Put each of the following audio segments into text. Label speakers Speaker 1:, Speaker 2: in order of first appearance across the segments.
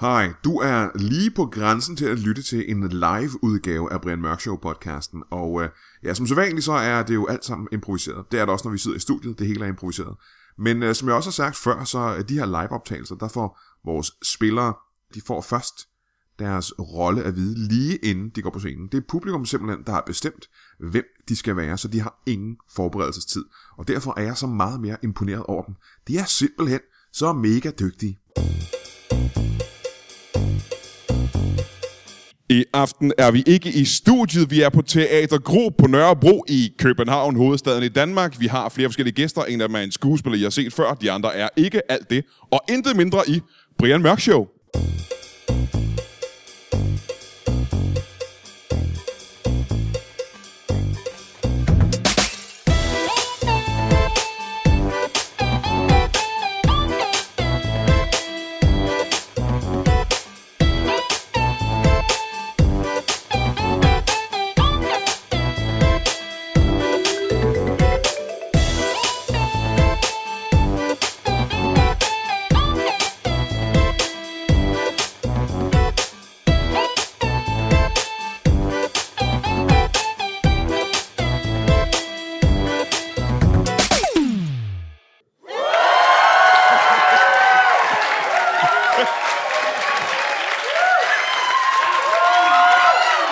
Speaker 1: Hej, du er lige på grænsen til at lytte til en live udgave af Brian Mørk Show podcasten, og øh, ja, som sædvanligt så er det jo alt sammen improviseret. Det er det også, når vi sidder i studiet, det hele er improviseret. Men øh, som jeg også har sagt før, så er de her live-optagelser, der får vores spillere, de får først deres rolle at vide lige inden de går på scenen. Det er publikum simpelthen, der har bestemt, hvem de skal være, så de har ingen forberedelsestid. Og derfor er jeg så meget mere imponeret over dem. De er simpelthen så mega dygtige.
Speaker 2: I aften er vi ikke i studiet, vi er på Teater Gro på Nørrebro i København, hovedstaden i Danmark. Vi har flere forskellige gæster, en af dem er en skuespiller, jeg har set før, de andre er ikke alt det, og intet mindre i Brian Mørk Show.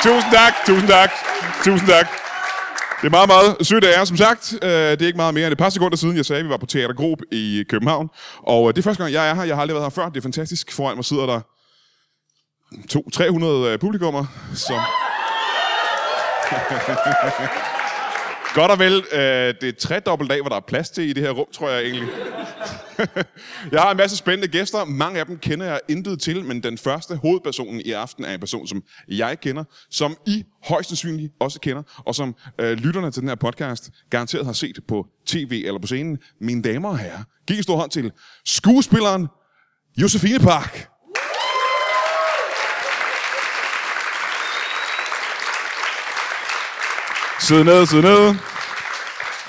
Speaker 2: Tusind tak, tusind tak, tusind tak. Det er meget, meget sødt af jer, som sagt. Øh, Det er ikke meget mere end et par sekunder siden, jeg sagde, at vi var på Teater Grob i København. Og øh, det er første gang, jeg er her. Jeg har aldrig været her før. Det er fantastisk. Foran mig sidder der 200-300 øh, publikummer, som... Godt og vel, øh, det er tredobbelt af, hvor der er plads til i det her rum, tror jeg egentlig. Jeg har en masse spændende gæster. Mange af dem kender jeg intet til, men den første hovedpersonen i aften er en person, som jeg kender, som I højst sandsynligt også kender, og som øh, lytterne til den her podcast garanteret har set på tv eller på scenen. Mine damer og herrer, giv en stor hånd til skuespilleren Josefine Park. Sid ned, sid ned.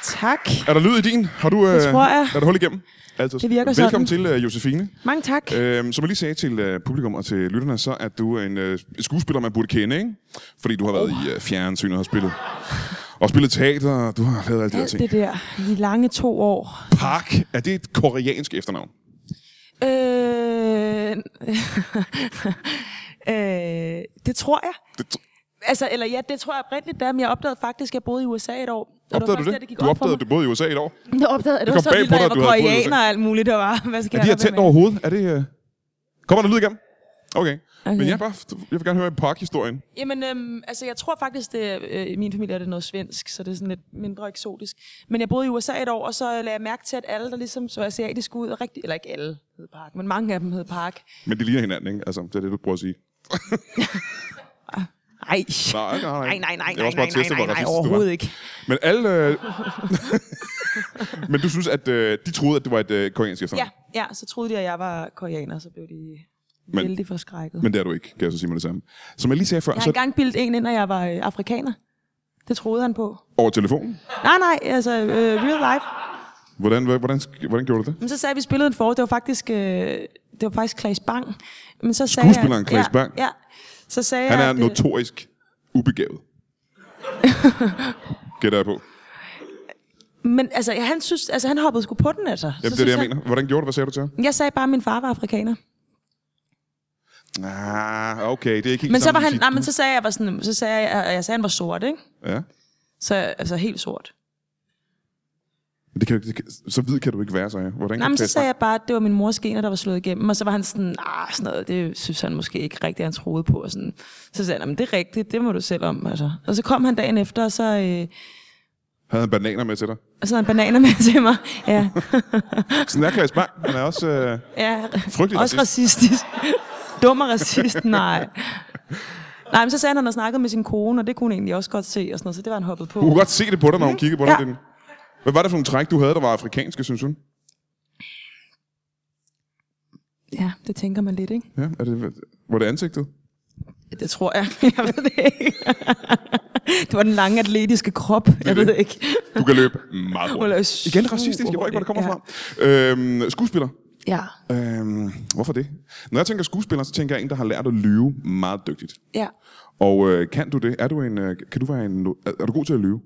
Speaker 3: Tak.
Speaker 2: Er der lyd i din? Har du, øh,
Speaker 3: tror jeg.
Speaker 2: Er der hul igennem? Altså,
Speaker 3: Det virker
Speaker 2: Velkommen
Speaker 3: sådan.
Speaker 2: til, øh, Josefine.
Speaker 3: Mange tak.
Speaker 2: Øhm, som jeg lige sagde til øh, publikum og til lytterne, så er du en øh, skuespiller, man burde kende, ikke? Fordi du har været i øh, fjernsyn og har spillet. Og spillet teater, og du har lavet alt det der
Speaker 3: Alt
Speaker 2: ting.
Speaker 3: det der. De lange to år.
Speaker 2: Park, er det et koreansk efternavn?
Speaker 3: Øh... øh... Det tror jeg.
Speaker 2: Det tr-
Speaker 3: Altså, eller ja, det tror jeg oprindeligt, der, men jeg opdagede faktisk, at jeg boede i USA et år. Og
Speaker 2: opdagede
Speaker 3: faktisk
Speaker 2: du
Speaker 3: der,
Speaker 2: det?
Speaker 3: gik
Speaker 2: du
Speaker 3: op for
Speaker 2: opdagede
Speaker 3: mig.
Speaker 2: det både i USA et år.
Speaker 3: Jeg opdagede, at det
Speaker 2: Det
Speaker 3: var
Speaker 2: kom bag
Speaker 3: så vildt,
Speaker 2: på
Speaker 3: at jeg
Speaker 2: dig, at du
Speaker 3: var
Speaker 2: havde boet i
Speaker 3: koreaner
Speaker 2: USA.
Speaker 3: og alt muligt, der var. Hvad skal
Speaker 2: Er de her
Speaker 3: jeg
Speaker 2: tændt over hovedet? Er det... Øh... Kommer der lyd igennem? Okay. okay. Men
Speaker 3: Okay.
Speaker 2: jeg, er bare, jeg vil gerne høre Park-historien.
Speaker 3: Jamen, øhm, altså, jeg tror faktisk, det, er- øh, i min familie er det noget svensk, så det er sådan lidt mindre eksotisk. Men jeg boede i USA et år, og så lagde jeg mærke til, at alle, der ligesom så asiatiske ud, og rigtig, eller ikke alle hed Park, men mange af dem hed Park.
Speaker 2: Men de ligner hinanden, ikke? Altså, det er det, du prøver at sige.
Speaker 3: Ej.
Speaker 2: Nej, nej, nej.
Speaker 3: Nej, nej, nej,
Speaker 2: Jeg vil også bare
Speaker 3: nej, nej, nej,
Speaker 2: teste, hvor
Speaker 3: nej, nej,
Speaker 2: racistisk du var.
Speaker 3: overhovedet ikke.
Speaker 2: Men alle... Øh... Men du synes, at øh, de troede, at det var et øh, koreansk efternavn?
Speaker 3: Ja, ja, så troede de, at jeg var koreaner, så blev de
Speaker 2: Men-
Speaker 3: men, vældig forskrækket. Men,
Speaker 2: Men det er du ikke, kan jeg så sige med det samme. Som jeg lige sagde før,
Speaker 3: jeg har
Speaker 2: så
Speaker 3: engang bildet en ind, at jeg var øh, afrikaner. Det troede han på.
Speaker 2: over telefonen.
Speaker 3: Nej, nej, altså øh, real life.
Speaker 2: Hvordan, hvordan, hvordan, hvordan gjorde du det?
Speaker 3: Men så sagde jeg, at vi spillede en for, det var faktisk, øh, det var faktisk Claes Bang. Men så sagde
Speaker 2: Skuespilleren
Speaker 3: jeg,
Speaker 2: Claes Bang?
Speaker 3: Ja, ja. Så sagde
Speaker 2: Han
Speaker 3: jeg,
Speaker 2: er
Speaker 3: at, øh,
Speaker 2: notorisk ubegavet. Gætter jeg på.
Speaker 3: Men altså, ja, han, synes, altså, han hoppede sgu på den, altså.
Speaker 2: Jamen, det er det, jeg mener. Hvordan gjorde du? Hvad sagde du til ham?
Speaker 3: Jeg sagde bare, at min far var afrikaner.
Speaker 2: Ah, okay, det er ikke helt
Speaker 3: Men så, var
Speaker 2: samme
Speaker 3: han,
Speaker 2: musik.
Speaker 3: nej, men så sagde jeg, var sådan, så sagde jeg, jeg, jeg sagde, at han var sort, ikke?
Speaker 2: Ja.
Speaker 3: Så altså helt sort.
Speaker 2: Men Det kan, jo ikke- det kan, så hvid kan du ikke være, sagde jeg. Hvordan
Speaker 3: Nej,
Speaker 2: kan
Speaker 3: men så
Speaker 2: Claes
Speaker 3: sagde
Speaker 2: Bang-
Speaker 3: jeg bare, at det var min mors gener, der var slået igennem. Og så var han sådan, ah, sådan noget, det synes han måske ikke rigtigt, han troede på. Og sådan. Så sagde han, men det er rigtigt, det må du selv om. Altså. Og så kom han dagen efter, og så, øh,
Speaker 2: Havde han bananer med til dig?
Speaker 3: og så havde han bananer med til mig. Ja,
Speaker 2: Sådan er Claes Bang. Han er også... Øh...
Speaker 3: ja.
Speaker 2: Frygtelig
Speaker 3: også racistisk. Dum og racist, nej. Nej, men så sagde han, at han havde snakket med sin kone, og det kunne hun egentlig også godt se, og sådan noget, så det var han hoppet på.
Speaker 2: Du kunne godt se det på dig, når hun kiggede på dig.
Speaker 3: Mm-hmm. Ja.
Speaker 2: Ja. Hvad var det for nogle træk, du havde, der var afrikanske, synes hun?
Speaker 3: Ja, det tænker man lidt, ikke?
Speaker 2: Ja, er det, var det ansigtet?
Speaker 3: Det tror jeg. Jeg ved det ikke. Det var den lange atletiske krop. Jeg ved det ikke.
Speaker 2: Du kan løbe meget
Speaker 3: Hun er
Speaker 2: hurtigt. Igen racistisk, jeg ved ikke, hvor det kommer fra. Øhm, skuespiller.
Speaker 3: Ja.
Speaker 2: Øhm, hvorfor det? Når jeg tænker skuespiller, så tænker jeg en, der har lært at lyve meget dygtigt.
Speaker 3: Ja.
Speaker 2: Og øh, kan du det? Er du en, øh, kan du være en, er, er du god til at lyve?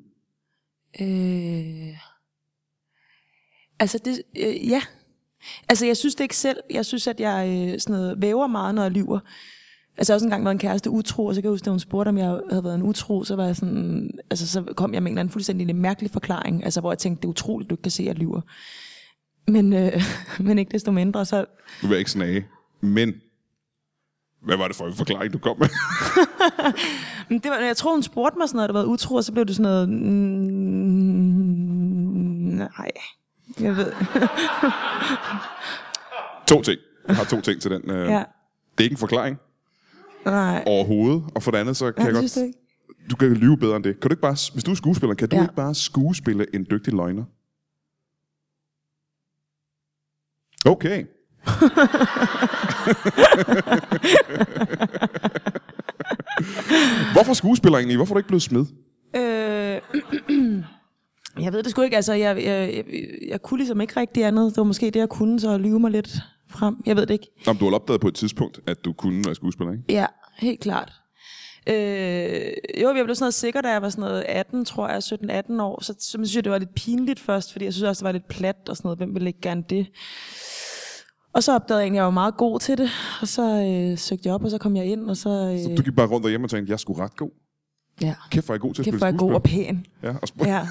Speaker 3: Øh... Altså, det, øh, ja. Altså, jeg synes det ikke selv. Jeg synes, at jeg øh, sådan noget, væver meget, når jeg lyver. Altså, jeg har også engang været en kæreste utro, og så kan jeg huske, da hun spurgte, om jeg havde været en utro, så var jeg sådan, altså, så kom jeg med en eller anden fuldstændig mærkelig forklaring, altså, hvor jeg tænkte, det er utroligt, du ikke kan se, at jeg lyver. Men, øh, men ikke desto mindre, så
Speaker 2: Du vil jeg ikke snage. Men, hvad var det for en forklaring, du kom med?
Speaker 3: Men det var, jeg tror, hun spurgte mig sådan noget, der var utro, og så blev det sådan noget... Mm, nej, jeg ved...
Speaker 2: to ting. Jeg har to ting til den. Øh,
Speaker 3: Ja,
Speaker 2: Det er ikke en forklaring
Speaker 3: nej.
Speaker 2: overhovedet. Og for det andet, så kan
Speaker 3: Ja,
Speaker 2: jeg
Speaker 3: det
Speaker 2: godt...
Speaker 3: synes du ikke?
Speaker 2: Du kan lyve bedre end det. Kan du ikke bare, hvis du er skuespiller, kan du
Speaker 3: Ja.
Speaker 2: ikke bare skuespille en dygtig løgner? Okay. Hvorfor skuespiller egentlig? Hvorfor er du ikke blevet smed?
Speaker 3: Øh, jeg ved det sgu ikke, altså jeg, jeg, jeg, jeg kunne ligesom ikke rigtig andet. Det var måske det, jeg kunne, så at lyve mig lidt frem. Jeg ved det ikke.
Speaker 2: Nå, men du har opdaget på et tidspunkt, at du kunne være skuespiller, ikke?
Speaker 3: Ja, helt klart. Øh, jo, jeg blev sådan noget sikker, da jeg var sådan noget 18, tror jeg, 17-18 år. Så, så synes jeg, det var lidt pinligt først, fordi jeg synes også, det var lidt plat og sådan noget. Hvem ville ikke gerne det? Og så opdagede jeg egentlig, at jeg var meget god til det. Og så øh, søgte jeg op, og så kom jeg ind, og så... Øh,
Speaker 2: Så du gik bare rundt derhjemme og tænkte, jeg er sgu ret god.
Speaker 3: ja.
Speaker 2: Kæft, hvor er jeg god til at
Speaker 3: Kæft,
Speaker 2: spille
Speaker 3: hvor er jeg god
Speaker 2: skuespiller.
Speaker 3: og pæn.
Speaker 2: Ja, og sp-
Speaker 3: Ja,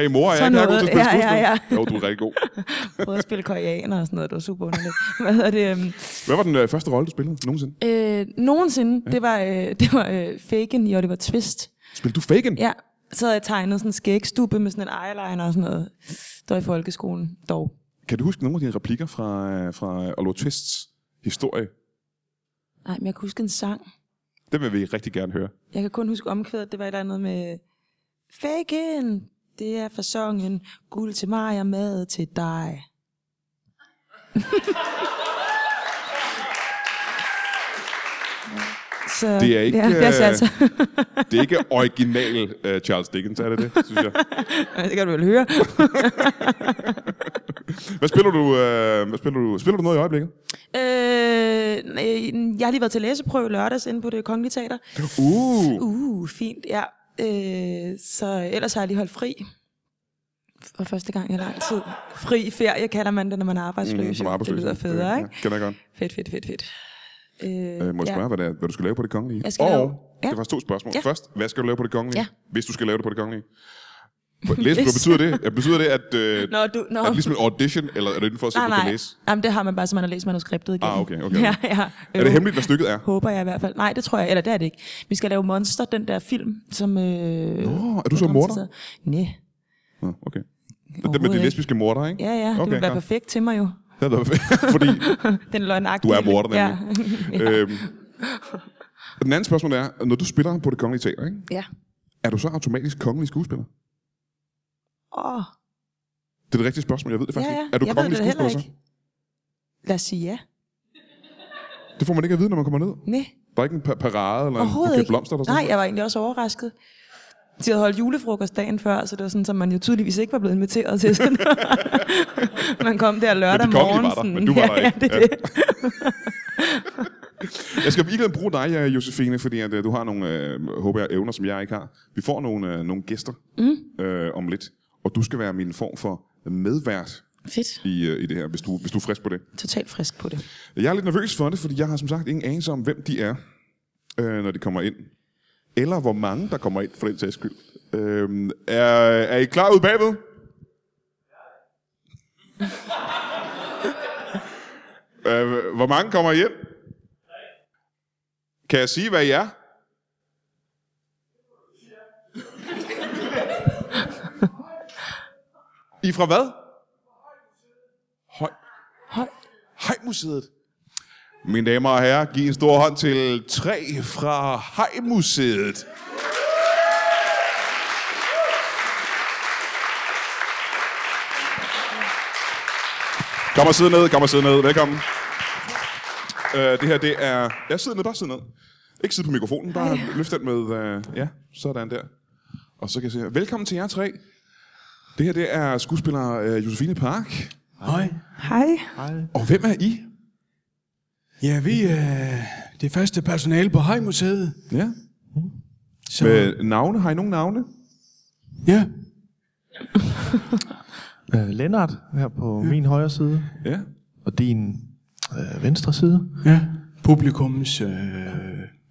Speaker 2: hey mor, er jeg
Speaker 3: Sådan
Speaker 2: ikke er god
Speaker 3: noget.
Speaker 2: til at spille
Speaker 3: Ja, ja,
Speaker 2: skuespil? Jo, du er rigtig god.
Speaker 3: prøvede at spille koreaner og sådan noget. Det var super underligt. Hvad hedder det? øhm,
Speaker 2: Hvad var den øh, første rolle, du spillede nogensinde?
Speaker 3: Øh, nogensinde, ja. det var, øh, det var øh, Fagin i Oliver Twist.
Speaker 2: Spillede du Fagin?
Speaker 3: Ja, så havde jeg tegnet sådan en skægstube med sådan en eyeliner og sådan noget. Det var i folkeskolen, dog.
Speaker 2: Kan du huske nogle af dine replikker fra, øh, fra Oliver Twists historie?
Speaker 3: Nej, men jeg kan huske en sang.
Speaker 2: Det vil vi rigtig gerne høre.
Speaker 3: Jeg kan kun huske omkvædet, det var et eller andet med... Fagin, det er fasongen. Guld til mig og mad til dig. så,
Speaker 2: Det er ikke,
Speaker 3: Ja, det er
Speaker 2: øh,
Speaker 3: altså,
Speaker 2: Det er ikke original øh, Charles Dickens, er det det, synes jeg?
Speaker 3: det kan du vel høre.
Speaker 2: Hvad spiller du, øh, hvad spiller du, spiller du noget i øjeblikket?
Speaker 3: Øh, øh, jeg har lige været til læseprøve lørdags inde på det kongelige teater.
Speaker 2: Uh,
Speaker 3: Uh, fint, ja. Øh, så ellers har jeg lige holdt fri. For første gang i lang tid. Fri ferie kalder man det, når man er
Speaker 2: mm,
Speaker 3: arbejdsløs.
Speaker 2: som arbejdsløs.
Speaker 3: Det lyder federe,
Speaker 2: Ja,
Speaker 3: ikke?
Speaker 2: Kan jeg godt.
Speaker 3: Fedt, fedt, fedt, fedt.
Speaker 2: Øh, må jeg spørge, hvad, det er, hvad du skal lave på det kongelige?
Speaker 3: Jeg skal
Speaker 2: og,
Speaker 3: lave-
Speaker 2: ja.
Speaker 3: Ja.
Speaker 2: det var to spørgsmål. Ja.
Speaker 3: Ja.
Speaker 2: Først, hvad skal du lave på det kongelige?
Speaker 3: Ja.
Speaker 2: Hvis du skal lave det på det kongelige. Læs, hvad
Speaker 3: Hvis.
Speaker 2: betyder det? Ja, Betyder det, at, øh,
Speaker 3: Nå, du, nå.
Speaker 2: er det ligesom en audition, eller er det inden for at se,
Speaker 3: nej,
Speaker 2: at du kan
Speaker 3: nej.
Speaker 2: læse?
Speaker 3: Jamen, det har man bare, så man har læst manuskriptet igen.
Speaker 2: Ah, okay, okay.
Speaker 3: Ja, ja.
Speaker 2: Er det hemmeligt, hvad stykket er?
Speaker 3: Håber jeg i hvert fald. Nej, det tror jeg. Eller det er det ikke. Vi skal lave Monster, den der film, som... Øh, Nå,
Speaker 2: er du så morder?
Speaker 3: Nej.
Speaker 2: Nå, okay. Det med
Speaker 3: Overhovedet
Speaker 2: de
Speaker 3: ikke.
Speaker 2: lesbiske morder, ikke?
Speaker 3: Ja, ja. Okay, det
Speaker 2: Okay,
Speaker 3: vil være
Speaker 2: ja.
Speaker 3: perfekt til mig jo.
Speaker 2: Det er da fordi
Speaker 3: Den
Speaker 2: du
Speaker 3: løgnagtige.
Speaker 2: er morder,
Speaker 3: Ja.
Speaker 2: nemlig.
Speaker 3: ja.
Speaker 2: øhm, og den anden spørgsmål er, når du spiller på det kongelige teater, ikke?
Speaker 3: ja.
Speaker 2: er du så automatisk kongelig skuespiller?
Speaker 3: Åh,
Speaker 2: Det er det rigtige spørgsmål, jeg ved det
Speaker 3: ja,
Speaker 2: faktisk
Speaker 3: ja.
Speaker 2: ikke. Er du
Speaker 3: jeg ved
Speaker 2: kongelig
Speaker 3: det heller
Speaker 2: skuespiller
Speaker 3: ikke. Lad os sige ja.
Speaker 2: så? Det får man ikke at vide, når man kommer ned.
Speaker 3: Nej,
Speaker 2: Der er ikke en pa- parade eller en
Speaker 3: overhovedet
Speaker 2: buket
Speaker 3: ikke.
Speaker 2: blomster eller sådan
Speaker 3: Nej, jeg var egentlig også overrasket. De havde holdt julefrokost dagen før, så det var sådan, som man jo tydeligvis ikke var blevet inviteret til. Sådan. man kom der lørdag
Speaker 2: Men de kongelige
Speaker 3: morgen.
Speaker 2: var der,
Speaker 3: sådan,
Speaker 2: men du var
Speaker 3: ja,
Speaker 2: der ikke.
Speaker 3: Ja, det, er det.
Speaker 2: Jeg skal virkelig bruge dig, øh, Josefine, fordi at, øh, du har nogle, øh, håber jeg, evner, som jeg ikke har. Vi får nogle, øh, nogle gæster mm. øh, om lidt, og du skal være min form for medvært
Speaker 3: Fedt.
Speaker 2: i, øh, i det her, hvis du, hvis du er frisk på det.
Speaker 3: Totalt frisk på det.
Speaker 2: Jeg er lidt nervøs for det, fordi jeg har som sagt ingen anelse om, hvem de er, øh, når de kommer ind. Eller hvor mange, der kommer ind, for den sags skyld. Øh, er, er I klar ude bagved? øh, hvor mange kommer hjem? Kan jeg sige, hvad I er? I er fra hvad? Høj.
Speaker 3: Høj.
Speaker 2: Hejmuseet. Mine damer og herrer, giv en stor hånd til tre fra Hejmuseet. Kom og sidde ned, kom og sidde ned. Velkommen. Øh, det her, det er... Ja, sidde ned, bare sidde ned. Ikke sidde på mikrofonen, bare Ej. løft den med... Øh, ja, sådan der. Og så kan jeg se her. Velkommen til jer tre. Det her, det er skuespiller øh, Josefine Park.
Speaker 4: Hej.
Speaker 3: Hej.
Speaker 2: Og hvem er I?
Speaker 4: Ja, vi er det første personale på Hejmuseet.
Speaker 2: Ja.
Speaker 4: Så,
Speaker 2: Med navne? Har I nogen navne?
Speaker 4: ja,
Speaker 5: Øh, Lennart her på min højre side,
Speaker 2: Ja.
Speaker 5: og din øh, venstre side.
Speaker 4: ja. Publikums... Øh,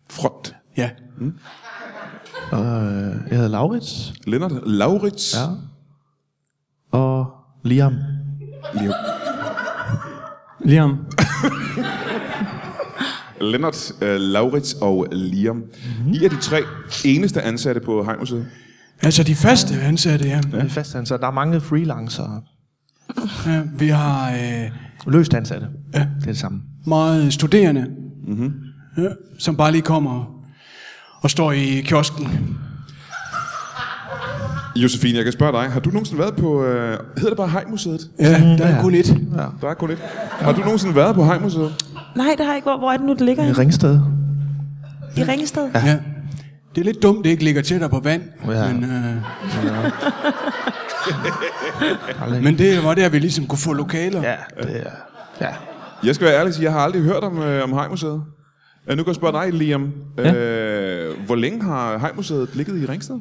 Speaker 2: Front.
Speaker 4: ja.
Speaker 5: Og øh, jeg hedder Laurits.
Speaker 2: Lennart Laurits.
Speaker 5: Ja. Og Liam.
Speaker 6: Liam,
Speaker 2: Lennart, uh, Laurits og Liam. Mm-hmm. I er de tre eneste ansatte på Heimuseet.
Speaker 4: Altså de faste ansatte, ja.
Speaker 5: Ja. Fast ansat. Der er mange freelancere.
Speaker 4: ja vi har øh,
Speaker 5: Løst ansatte. Ja. Det er det samme.
Speaker 4: meget studerende, mm-hmm. ja, som bare lige kommer og står i kiosken.
Speaker 2: Josefine, jeg kan spørge dig. Har du nogensinde været på... Uh, hedder det bare Heimuseet?
Speaker 4: Ja, der er
Speaker 5: Mm-hmm. ja.
Speaker 4: kun et.
Speaker 2: Der er kun et. Har du nogensinde været på Heimuseet?
Speaker 3: Nej, det har jeg ikke. Hvor, hvor er det nu, det ligger?
Speaker 5: I
Speaker 3: henne?
Speaker 5: Ringsted.
Speaker 3: I Ringsted?
Speaker 4: Ja. Det er lidt dumt, det ikke ligger tættere på vand,
Speaker 5: Ja.
Speaker 4: men, øh, men det var der, vi ligesom kunne få lokaler.
Speaker 5: Ja, det er... Ja.
Speaker 2: Jeg skal være ærlig og sige, jeg har aldrig hørt om, øh, om Heimuseet. Uh, nu kan jeg spørge dig, Liam. Ja. Uh, hvor længe har Heimuseet ligget i Ringsted?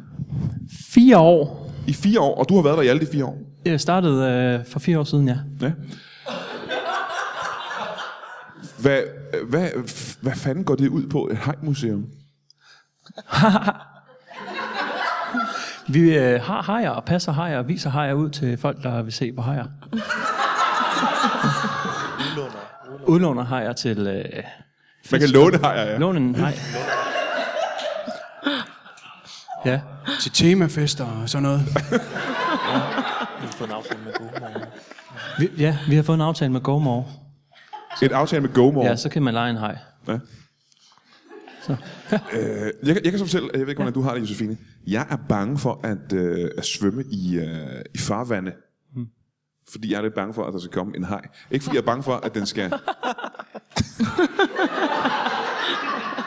Speaker 6: fire år.
Speaker 2: I fire år, og du har været der i alle de fire år.
Speaker 6: Jeg startede øh, for fire år siden, ja.
Speaker 2: Ja. Hvad, hvad, f- hvad fanden går det ud på, et hajmuseum?
Speaker 6: Vi øh, har hajer og passer hajer og viser hajer ud til folk, der vil se på hajer. Udlåner. Udlåner hajer til... Øh,
Speaker 2: Man kan låne hajer, ja.
Speaker 6: låne en haj. Ja.
Speaker 4: Til temafester og sådan noget.
Speaker 6: Vi, ja, vi har fået en aftale med GoMore.
Speaker 2: Et aftale med GoMore.
Speaker 6: Ja, så kan man lege en haj.
Speaker 2: Ja. Øh, jeg, kan- jeg kan så fortælle, jeg ved ikke, hvordan du har det, Josefine. Jeg er bange for at, øh, at svømme i, øh, i farvande. Fordi jeg er lidt bange for, at der skal komme en haj. Ikke fordi jeg er bange for, at den skal...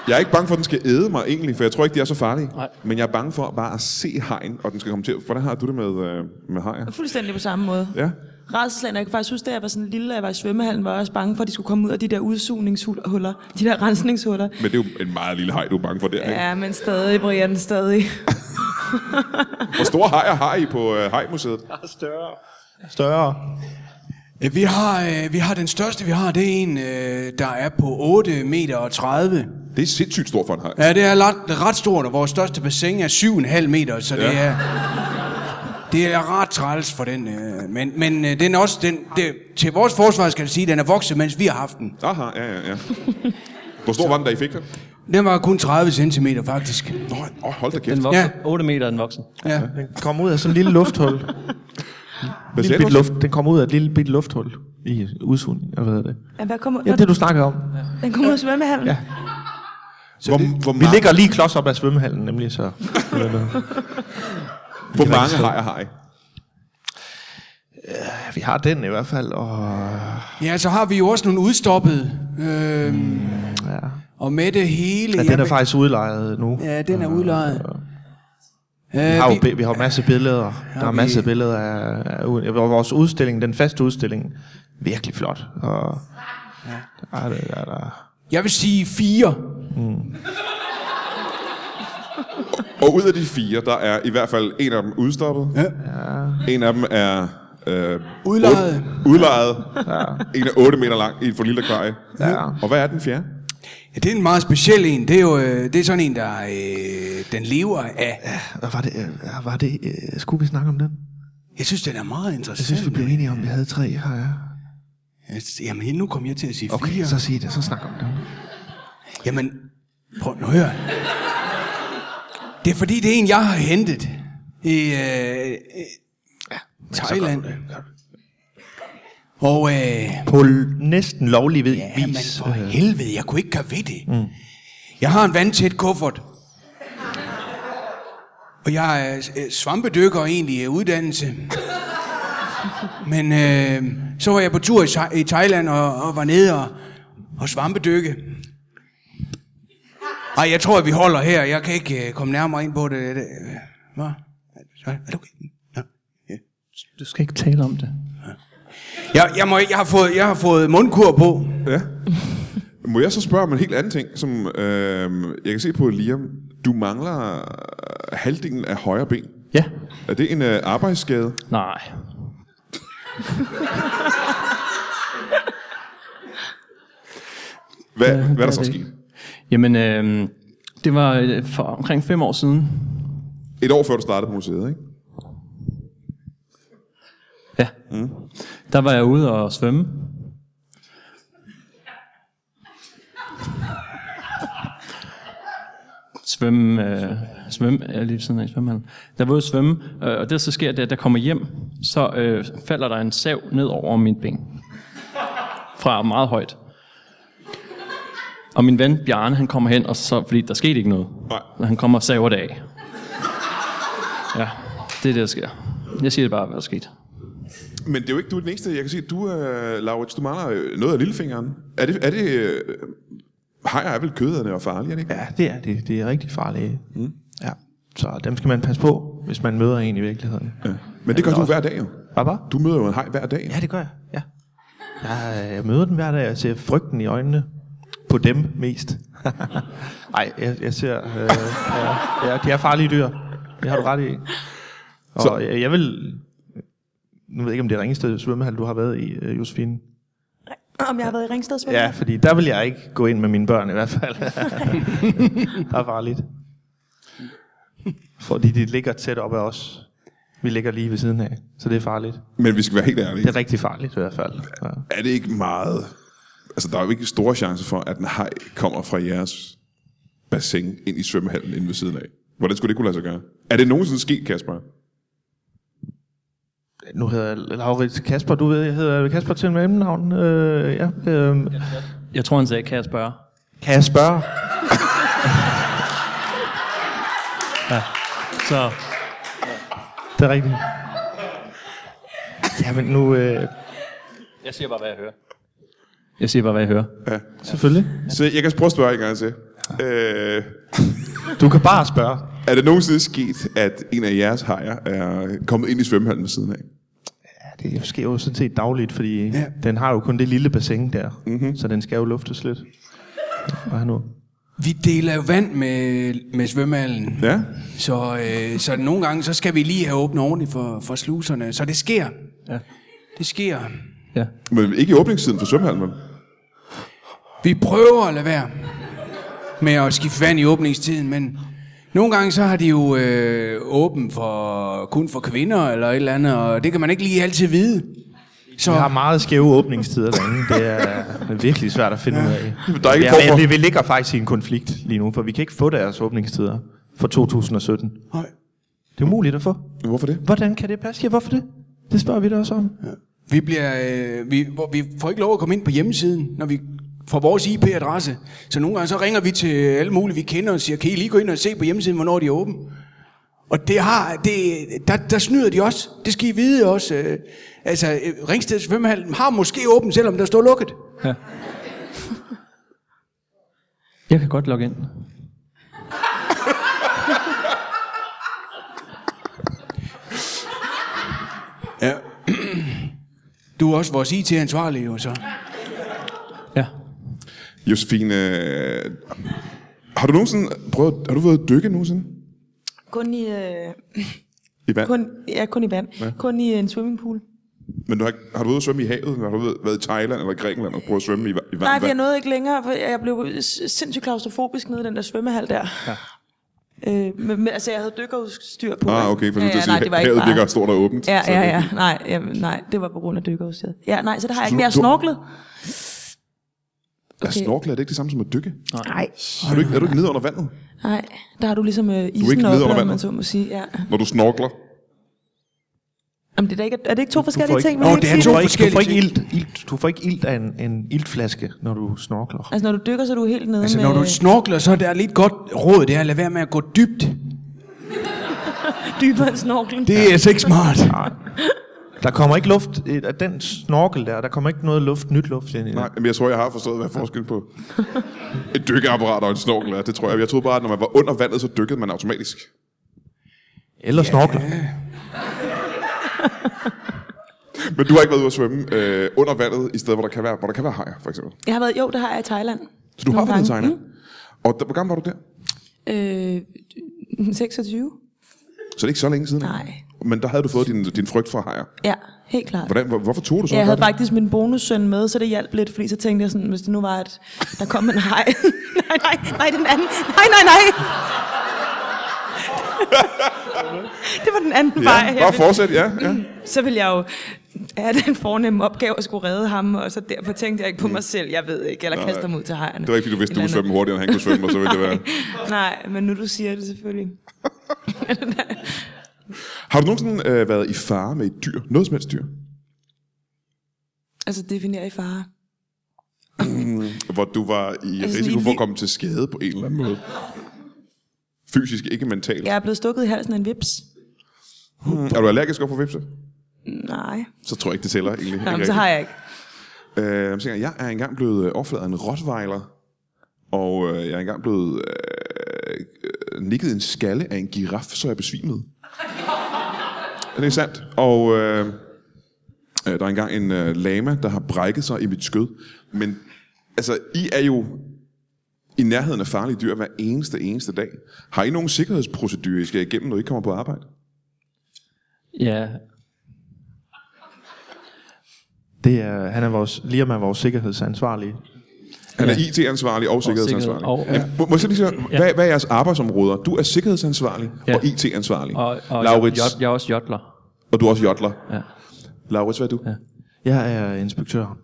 Speaker 2: jeg er ikke bange for, at den skal æde mig egentlig, for jeg tror ikke, de er så farlige.
Speaker 6: Nej.
Speaker 2: Men jeg er bange for bare at se hajen, og den skal komme til. Hvordan har du det med, øh, med hajer?
Speaker 3: Fuldstændig på samme måde.
Speaker 2: Ja.
Speaker 3: Rædselsland, jeg kan faktisk huske, da jeg var sådan lille, da jeg var i svømmehallen, var jeg også bange for, at de skulle komme ud af de der udsugningshuller, de der rensningshuller.
Speaker 2: Men det er jo en meget lille haj, du er bange for der, ikke?
Speaker 3: Ja, men stadig, Brian, stadig.
Speaker 2: Hvor store hajer har I på øh, hajmuseet?
Speaker 5: Større.
Speaker 4: Ja, Vi har, øh, vi har den største, vi har, det er en, øh, der er på 8 meter og 30.
Speaker 2: Det er sindssygt stort for en haj.
Speaker 4: Ja, det er ret, ret stort, og vores største bassin er 7,5 meter, så det
Speaker 2: Ja.
Speaker 4: er... Det er ret træls for den, øh, men, men øh, den er også, den, det, til vores forsvar skal jeg sige, den er vokset, mens vi har haft den.
Speaker 2: Aha, ja, ja, ja. Hvor stor var den, da I fik den?
Speaker 4: Den var kun 30 cm faktisk.
Speaker 2: Nå, åh, hold da kæft.
Speaker 6: Den voksen.
Speaker 4: Ja.
Speaker 6: Ja. 8 meter er den voksen.
Speaker 4: Ja.
Speaker 5: Den kom ud af sådan en lille lufthul.
Speaker 2: Hvad
Speaker 5: lille
Speaker 2: siger
Speaker 5: bit
Speaker 2: du?
Speaker 5: luft. Den kom ud af et lille bit lufthul i udsugning, eller hvad hedder det?
Speaker 3: Ja, hvad kommer,
Speaker 5: Ja, det du snakker om.
Speaker 3: Den kommer ud af svømmehallen. Ja.
Speaker 5: Ja.
Speaker 2: Hvor, hvor,
Speaker 5: Vi
Speaker 2: mange,
Speaker 5: ligger lige klods op ad svømmehallen, nemlig så.
Speaker 2: hvor mange hajer har I?
Speaker 5: vi har den i hvert fald, og...
Speaker 4: ja, så har vi jo også nogle udstoppede, øh,
Speaker 5: Ja.
Speaker 4: og med det hele...
Speaker 5: Ja, den er
Speaker 4: jamen-
Speaker 5: faktisk udlejet nu.
Speaker 4: Ja, den er udlejet.
Speaker 5: Vi
Speaker 4: Øh,
Speaker 5: har jo bi- vi har jo masse billeder. Der er
Speaker 4: vi-
Speaker 5: masse billeder af, af ud- ja, vores udstilling, den faste udstilling. Virkelig flot. Og, ja. der, der, der.
Speaker 4: jeg vil sige fire.
Speaker 2: Og ud af de fire, der er i hvert fald en af dem udstoppet. Ja. En af dem er... Øh,
Speaker 4: Udlejet.
Speaker 2: otte- udlejet. Ja. En er 8 meter lang i et for lille akvarie.
Speaker 5: Ja.
Speaker 2: Og hvad er den fjerde?
Speaker 4: Ja, det er en meget speciel en. Det er jo øh, det er sådan en, der øh, den lever af.
Speaker 5: Hvad var det? øh, Var det øh, skulle vi snakke om den?
Speaker 4: Jeg synes, den er meget
Speaker 5: Jeg
Speaker 4: interessant.
Speaker 5: synes, vi blev enige om, at vi havde tre her. Ja.
Speaker 4: synes, Jamen, nu kom jeg til at sige okay,
Speaker 5: Okay,
Speaker 4: fire.
Speaker 5: så
Speaker 4: Så...
Speaker 5: sig det. Så snak om den.
Speaker 4: Jamen, prøv nu at høre. Det er fordi, det er en, jeg har hentet i øh, øh, Thailand. Og øh,
Speaker 5: På l- næsten lovlig ved
Speaker 4: Ja, men
Speaker 5: vis. øh,
Speaker 4: for helvede, jeg kunne ikke gøre ved det. Mm. Jeg har en vandtæt kuffert. Og jeg er øh, svampedykker egentlig af uddannelse. Men øh, så var jeg på tur i, Tha- i Thailand og, og var nede og, og svampedykke. Ej, jeg tror, at vi holder her. Jeg kan ikke øh, komme nærmere ind på det. øh, det. Hvad? Er det okay? Nå.
Speaker 6: Du skal ikke tale om det.
Speaker 4: Jeg, jeg, må, ikke- jeg, har fået, jeg har fået mundkur på.
Speaker 2: Ja. Må jeg så spørge om en helt anden ting, som øh, jeg kan se på Liam. Du mangler øh, halvdelen af højre ben.
Speaker 6: Ja.
Speaker 2: Er det en øh, arbejdsskade?
Speaker 6: Nej.
Speaker 2: Hvad,
Speaker 6: Ja,
Speaker 2: ja, hvad er
Speaker 6: det
Speaker 2: der
Speaker 6: er
Speaker 2: så
Speaker 6: det
Speaker 2: sket?
Speaker 6: ikke. Jamen, øh, det var øh, for omkring fem år siden.
Speaker 2: Et år før du startede på museet, ikke?
Speaker 6: Ja. Mm. Der var jeg ude og svømme. svømme, øh, svømme, jeg er lige ved siden af i svømmehallen. Der var ude at svømme, øh, og det så sker det, at der kommer hjem, så øh, falder der en sav ned over min ben. Fra meget højt. Og min ven Bjarne, han kommer hen, og så, fordi der skete ikke noget.
Speaker 2: Nej.
Speaker 6: Og Han kommer og saver det af. Ja, det er det, der sker. Jeg siger det bare, hvad der skete.
Speaker 2: Men det er jo ikke du er den eneste. Jeg kan se, at du, øh, Laurits, du mangler øh, noget af lillefingeren. Er det... Er det øh, hajer er vel køderne og farlige, er det ikke?
Speaker 5: Ja, det er det. Det er rigtig farlige. Mm. Ja. Så dem skal man passe på, hvis man møder en i virkeligheden. Ja.
Speaker 2: Men det gør du hver dag jo.
Speaker 5: Hvad bare?
Speaker 2: Du møder jo en haj hver dag.
Speaker 5: Ja, det gør jeg. Ja. Jeg, øh, jeg møder den hver dag, og jeg ser frygten i øjnene. På dem mest. Nej, jeg, jeg ser... Øh, ja, ja, de er farlige dyr. Det har du ret i. Og
Speaker 2: Så-
Speaker 5: Så. Jeg, jeg vil... Nu ved jeg ikke, om det er Ringsted svømmehal, du har været i, øh, Josefine.
Speaker 3: Om jeg har været i Ringsted Svømmehal?
Speaker 5: Ja, fordi der vil jeg ikke gå ind med mine børn i hvert fald. der er farligt. Fordi de ligger tæt op ad os. Vi ligger lige ved siden af, så det er farligt.
Speaker 2: Men vi skal være helt ærlige.
Speaker 5: Det er rigtig farligt i hvert fald. Ja.
Speaker 2: er det ikke meget... Altså, der er jo ikke store chancer for, at en haj kommer fra jeres bassin ind i svømmehallen inde ved siden af. Hvordan skulle det kunne lade sig gøre? Er det nogensinde sket, Kasper?
Speaker 5: Nu hedder jeg Laurits Kasper. Du ved, jeg hedder Kasper til mellemnavn. Øh, ja, øh,
Speaker 6: Jeg tror, han sagde, kan jeg spørge?
Speaker 5: kan jeg spørge?
Speaker 6: Så
Speaker 5: Det er rigtigt. Jamen nu, øh,
Speaker 6: jeg siger bare, hvad jeg hører. Jeg siger bare, hvad jeg hører.
Speaker 5: selvfølgelig.
Speaker 2: Så jeg kan prøve at spørge en gang til. Øh,
Speaker 5: Du kan bare spørge.
Speaker 2: er det nogensinde sket, at en af jeres hajer er kommet ind i svømmehallen ved siden af?
Speaker 5: Ja, det sker jo sådan set dagligt, fordi
Speaker 4: Ja.
Speaker 5: ja. den har jo kun det lille bassin der.
Speaker 2: Mhm.
Speaker 5: Mm-hmm. Så den skal jo luftes lidt. Hvad nu?
Speaker 4: Vi deler jo vand med, med svømmehallen.
Speaker 2: Ja?
Speaker 4: Så, øh, så nogle gange, så skal vi lige have åbnet ordentligt for, for sluserne. Så det sker.
Speaker 6: Ja.
Speaker 4: Det sker.
Speaker 6: Ja.
Speaker 2: Men ikke i åbningstiden for svømmehallen, vel?
Speaker 4: Vi prøver at lade være med at skifte vand i åbningstiden, men nogle gange, så har de jo øh, åben for, kun for kvinder eller et eller andet, og det kan man ikke lige altid vide. Så
Speaker 5: Vi har meget skæve åbningstider derinde. Det er virkelig svært at finde ud af.
Speaker 2: Der er ikke
Speaker 5: ja,
Speaker 2: form for-
Speaker 5: vi, vi ligger faktisk i en konflikt lige nu, for vi kan ikke få deres åbningstider for 2017.
Speaker 4: Høj.
Speaker 5: Det er umuligt at få.
Speaker 2: Hvorfor det?
Speaker 5: Hvordan kan det passe? Ja, hvorfor det? Det spørger vi dig også om.
Speaker 4: vi, bliver, øh, vi, hvor, vi får ikke lov at komme ind på hjemmesiden, når vi får vores IP-adresse. Så nogle gange, så ringer vi til alle mulige, vi kender, og siger, kan I lige gå ind og se på hjemmesiden, hvornår de er åben? Og det har, det, der, der snyder de også. Det skal I vide også. øh. Altså, øh, Ringsted Svømmehal har måske åben, selvom der står lukket.
Speaker 6: ja. Jeg kan godt logge ind.
Speaker 4: Ja. Du er også vores IT-ansvarlige, jo så.
Speaker 6: Ja.
Speaker 2: Josefine, øh, har du nogensinde prøvet, har du været at dykke nogensinde?
Speaker 3: Kun i, øh,
Speaker 2: I vand?
Speaker 3: kun, ja, kun i vand. Ja. Kun i en swimmingpool.
Speaker 2: Men du har, ikke- har du været ude at svømme i havet? Har du været- været i Thailand eller Grækenland og prøvet at svømme i, va- i vand?
Speaker 3: Nej, for jeg nåede ikke længere, for jeg blev s- sindssygt klaustrofobisk nede i den der svømmehal der. Ja. Øh, men, men, altså, jeg havde dykkerudstyr på.
Speaker 2: Ah,
Speaker 3: ikke?
Speaker 2: okay, for
Speaker 3: ja,
Speaker 2: ja,
Speaker 3: ja, nej, det var
Speaker 2: havet
Speaker 3: ikke bare...
Speaker 2: ligger stort og åbent.
Speaker 3: Ja,
Speaker 2: så-
Speaker 3: ja, ja. Nej, ja, nej, det var på grund af dykkerudstyret. Ja, nej, så det har jeg ikke.
Speaker 2: du-
Speaker 3: Men jeg har
Speaker 2: du-
Speaker 3: snorklet.
Speaker 2: Er snorkle, er det ikke det samme som at dykke?
Speaker 3: Nej,
Speaker 2: Er du ikke, er du ikke nede under vandet,
Speaker 3: nej. Der har du ligesom øh, isen
Speaker 2: nede
Speaker 3: oppe,
Speaker 2: under
Speaker 3: om man
Speaker 2: vandet.
Speaker 3: så må sige. Ja.
Speaker 2: når du snorkler?
Speaker 3: Jamen, det er, da ikke, er det ikke to forskellige
Speaker 5: ikke-
Speaker 3: ting?
Speaker 4: Nå,
Speaker 3: vil jeg ikke
Speaker 4: det er
Speaker 3: sige
Speaker 5: Du
Speaker 4: to
Speaker 5: får ikke, du får ikke
Speaker 4: forskellige
Speaker 5: ilt, ilt, du får ikke ilt af en, en iltflaske, når du snorkler.
Speaker 3: Altså, når du dykker, så er du helt nede
Speaker 4: Altså,
Speaker 3: med...
Speaker 4: når du snorkler, så er der lidt godt råd, det er at lade være med at gå dybt.
Speaker 3: dybere end snorklen. Det...
Speaker 4: Det er altså ikke smart.
Speaker 5: Der kommer ikke luft, øh, af den snorkel der, der kommer ikke noget luft, nyt luft ind i den.
Speaker 2: Nej, men jeg tror, jeg har forstået, hvad forskellen på et dykkeapparat og en snorkel er. Det tror jeg. Jeg troede bare, at når man var under vandet, så dykkede man automatisk.
Speaker 5: Eller snorkler.
Speaker 2: Men du har ikke været ude at svømme øh, under vandet, i stedet, hvor der kan være, hvor der kan være hajer, for eksempel.
Speaker 3: Jeg har været, jo, det har jeg i Thailand.
Speaker 2: Så du har
Speaker 3: Nogle
Speaker 2: været i
Speaker 3: gange.
Speaker 2: Thailand. Og der, hvor gammel var du der?
Speaker 3: Mm. Øh, 26?
Speaker 2: Så det er ikke så længe siden. ikke?
Speaker 3: Nej.
Speaker 2: Men der havde du fået din, din frygt for hajer.
Speaker 3: Ja, helt klart.
Speaker 2: Hvordan, hvor, hvorfor tog du så?
Speaker 3: Ja, jeg
Speaker 2: at
Speaker 3: havde
Speaker 2: gøre det?
Speaker 3: faktisk min bonussøn med, så det hjalp lidt, fordi så tænkte jeg sådan, hvis det nu var, at der kom en hej. nej, nej, nej, den anden. Nej, nej, nej. det var den anden vej.
Speaker 2: Ja, bare
Speaker 3: Jeg ville,
Speaker 2: fortsæt, ja. ja.
Speaker 3: så ville jeg jo have den fornemme opgave at skulle redde ham, og så derfor tænkte jeg ikke på mig selv, jeg ved ikke, eller kaste ham ud til hejerne.
Speaker 2: Det var ikke, fordi du vidste, du
Speaker 3: Et
Speaker 2: kunne
Speaker 3: eller
Speaker 2: svømme hurtigere, end han kunne svømme, og så ville det være...
Speaker 3: andet. Nej, men nu du siger det selvfølgelig.
Speaker 2: Har du nogensinde øh, været i fare med et dyr? Noget som helst dyr?
Speaker 3: Altså definere i fare.
Speaker 2: Hvor du var i
Speaker 3: Altså,
Speaker 2: risiko
Speaker 3: i
Speaker 2: for at
Speaker 3: vi-
Speaker 2: komme til skade på en eller anden måde? Fysisk, ikke mentalt. Ja.
Speaker 3: Jeg er blevet stukket i halsen af en vips.
Speaker 2: Er du allergisk over for vipse?
Speaker 3: Nej,
Speaker 2: Så tror jeg ikke, det tæller egentlig. Ikke
Speaker 3: Jamen,
Speaker 2: rigtigt.
Speaker 3: så har jeg ikke.
Speaker 2: Øh, så tænker jeg, jeg er engang blevet øh, overfladet af en rottweiler, og øh, jeg er engang blevet øh, øh, nikket en skalle af en giraf, så jeg besvimede. det er sandt. Og øh, øh, der er engang en øh, lama, der har brækket sig i mit skød. Men altså, I er jo i nærheden af farlige dyr hver eneste, eneste dag. Har I nogen sikkerhedsprocedurer, I skal igennem, når I kommer på arbejde?
Speaker 6: Ja,
Speaker 5: Det er, han er vores, Liam er vores sikkerhedsansvarlige.
Speaker 2: Han er
Speaker 6: Ja.
Speaker 2: IT-ansvarlig og sikkerhedsansvarlig.
Speaker 6: sikkerhed- og-
Speaker 2: ja. Må, må jeg så lige sige, hvad, hvad er jeres arbejdsområder? Du er sikkerhedsansvarlig ja.
Speaker 6: Ja.
Speaker 2: og IT-ansvarlig.
Speaker 6: og, og
Speaker 2: Laurits,
Speaker 6: Jeg, jeg, jeg er også jodler.
Speaker 2: og du er også jodler.
Speaker 6: Ja.
Speaker 2: Laurits, hvad er du? Ja.
Speaker 6: Ja.
Speaker 5: Jeg er inspektør.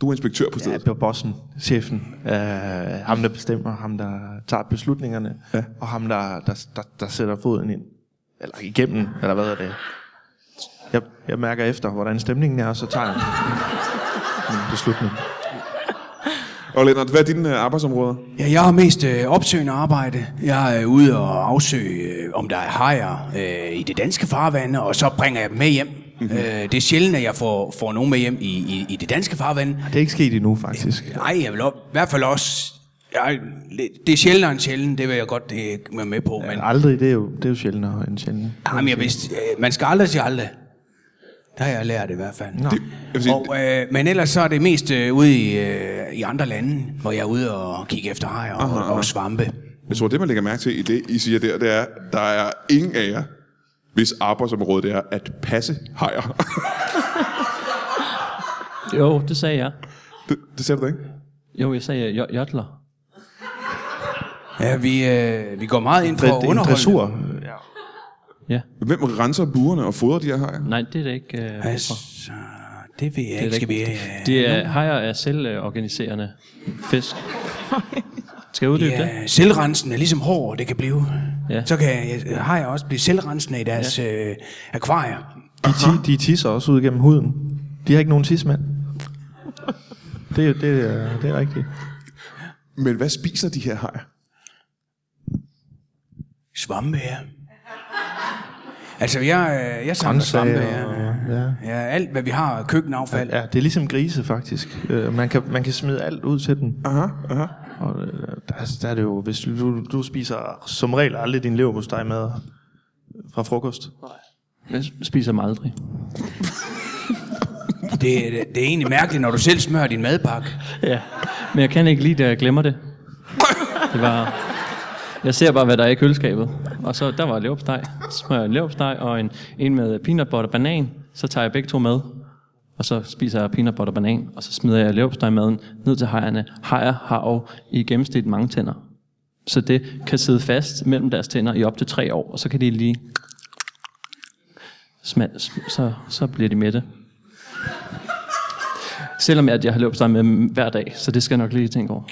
Speaker 2: Du er inspektør på
Speaker 5: Jeg er
Speaker 2: stedet.
Speaker 5: på bossen, chefen. Øh, ham, der bestemmer, ham, der tager beslutningerne, ja. og ham, der, der, der, der sætter foden ind. Eller igennem, eller hvad er det? Jeg, jeg mærker efter, hvordan stemningen er, og så tager jeg en beslutning.
Speaker 2: Og Lennart, hvad er dine øh, arbejdsområder?
Speaker 4: Ja, jeg har mest øh, opsøgende arbejde. Jeg er ude og afsøge, øh, om der er hajer øh, i det danske farvande, og så bringer jeg dem med hjem. Mm-hmm. Øh, det er sjældent, at jeg får, får nogen med hjem i, i, i det danske farvande.
Speaker 5: Det er ikke sket endnu, faktisk.
Speaker 4: Nej, jeg vil op, i hvert fald også... Jeg, det er sjældent end sjældent, det vil jeg godt øh, være med på. Men,
Speaker 5: Men aldrig, det er jo, det er jo sjældnere end sjældent.
Speaker 4: jamen, jeg vidste, øh, man skal aldrig sige aldrig. Der har jeg lært det i hvert fald.
Speaker 5: Nå.
Speaker 2: Det, jeg vil sige, og,
Speaker 4: Og, øh, men ellers så er det mest øh, ude i, øh, i andre lande, hvor jeg er ude og kigge efter hajer og, aha, og svampe.
Speaker 2: jeg tror, det man lægger mærke til i det, I siger der, det er, der er ingen af jer, hvis arbejdsområdet det er at passe hajer.
Speaker 6: Jo, det sagde jeg.
Speaker 2: det, det ser du da ikke?
Speaker 6: Jo, jeg sagde jo, jodler.
Speaker 4: Ja, vi, øh, vi går meget ind for
Speaker 5: Det,
Speaker 4: at
Speaker 5: det er en
Speaker 4: underholde.
Speaker 5: dressur. Ja.
Speaker 6: Ja.
Speaker 2: Hvem renser burerne og fodrer de her hajer?
Speaker 6: Nej, det er det ikke. Øh,
Speaker 4: Altså, det ved jeg
Speaker 6: det
Speaker 4: ikke,
Speaker 6: er
Speaker 4: skal
Speaker 6: det
Speaker 4: vi...
Speaker 6: ikke.
Speaker 4: Øh,
Speaker 6: Det er, hajer er selvorganiserende fisk. Skal jeg uddybe det?
Speaker 4: ja, selvrensende, ligesom hår det kan blive.
Speaker 6: Ja.
Speaker 4: Så kan jeg, har jeg også blive selvrensende i deres ja. øh, akvarier.
Speaker 5: De, ti, de tisser også ud gennem huden. De har ikke nogen tismand. Det, er- det, er- det er rigtigt.
Speaker 2: Men hvad spiser de her hajer?
Speaker 4: Svampe, ja. Altså, jeg, øh, jeg samler svampe, ja.
Speaker 5: ja.
Speaker 4: ja. Alt, hvad vi har, køkkenaffald.
Speaker 5: Ja, det er ligesom grise faktisk. Øh, man, kan, man kan smide alt ud til den. Aha, aha. Og øh, der, der er det jo, hvis du, du spiser som regel aldrig din leverpostej med øh, fra frokost.
Speaker 6: Jeg spiser mig aldrig.
Speaker 4: Det, det, det er egentlig mærkeligt, når du selv smører din madpakke.
Speaker 6: Ja. Men jeg kan ikke lide det, jeg glemmer det. Det var... Jeg ser bare, hvad der er i køleskabet. Og så der var leverpostej. Så Smører jeg en leverpostej og en, en med peanut butter banan. Så tager jeg begge to med. Og så spiser jeg peanut butter banan. Og så smider jeg leverpostejmaden ned til hejerne. Hejer har jo i gennemsnit mange tænder. Så det kan sidde fast mellem deres tænder i op til tre år. Og så kan de lige... Smal, sm- så, så bliver de mætte. Selvom at jeg har leverpostej med dem hver dag. Så det skal jeg nok lige tænke over.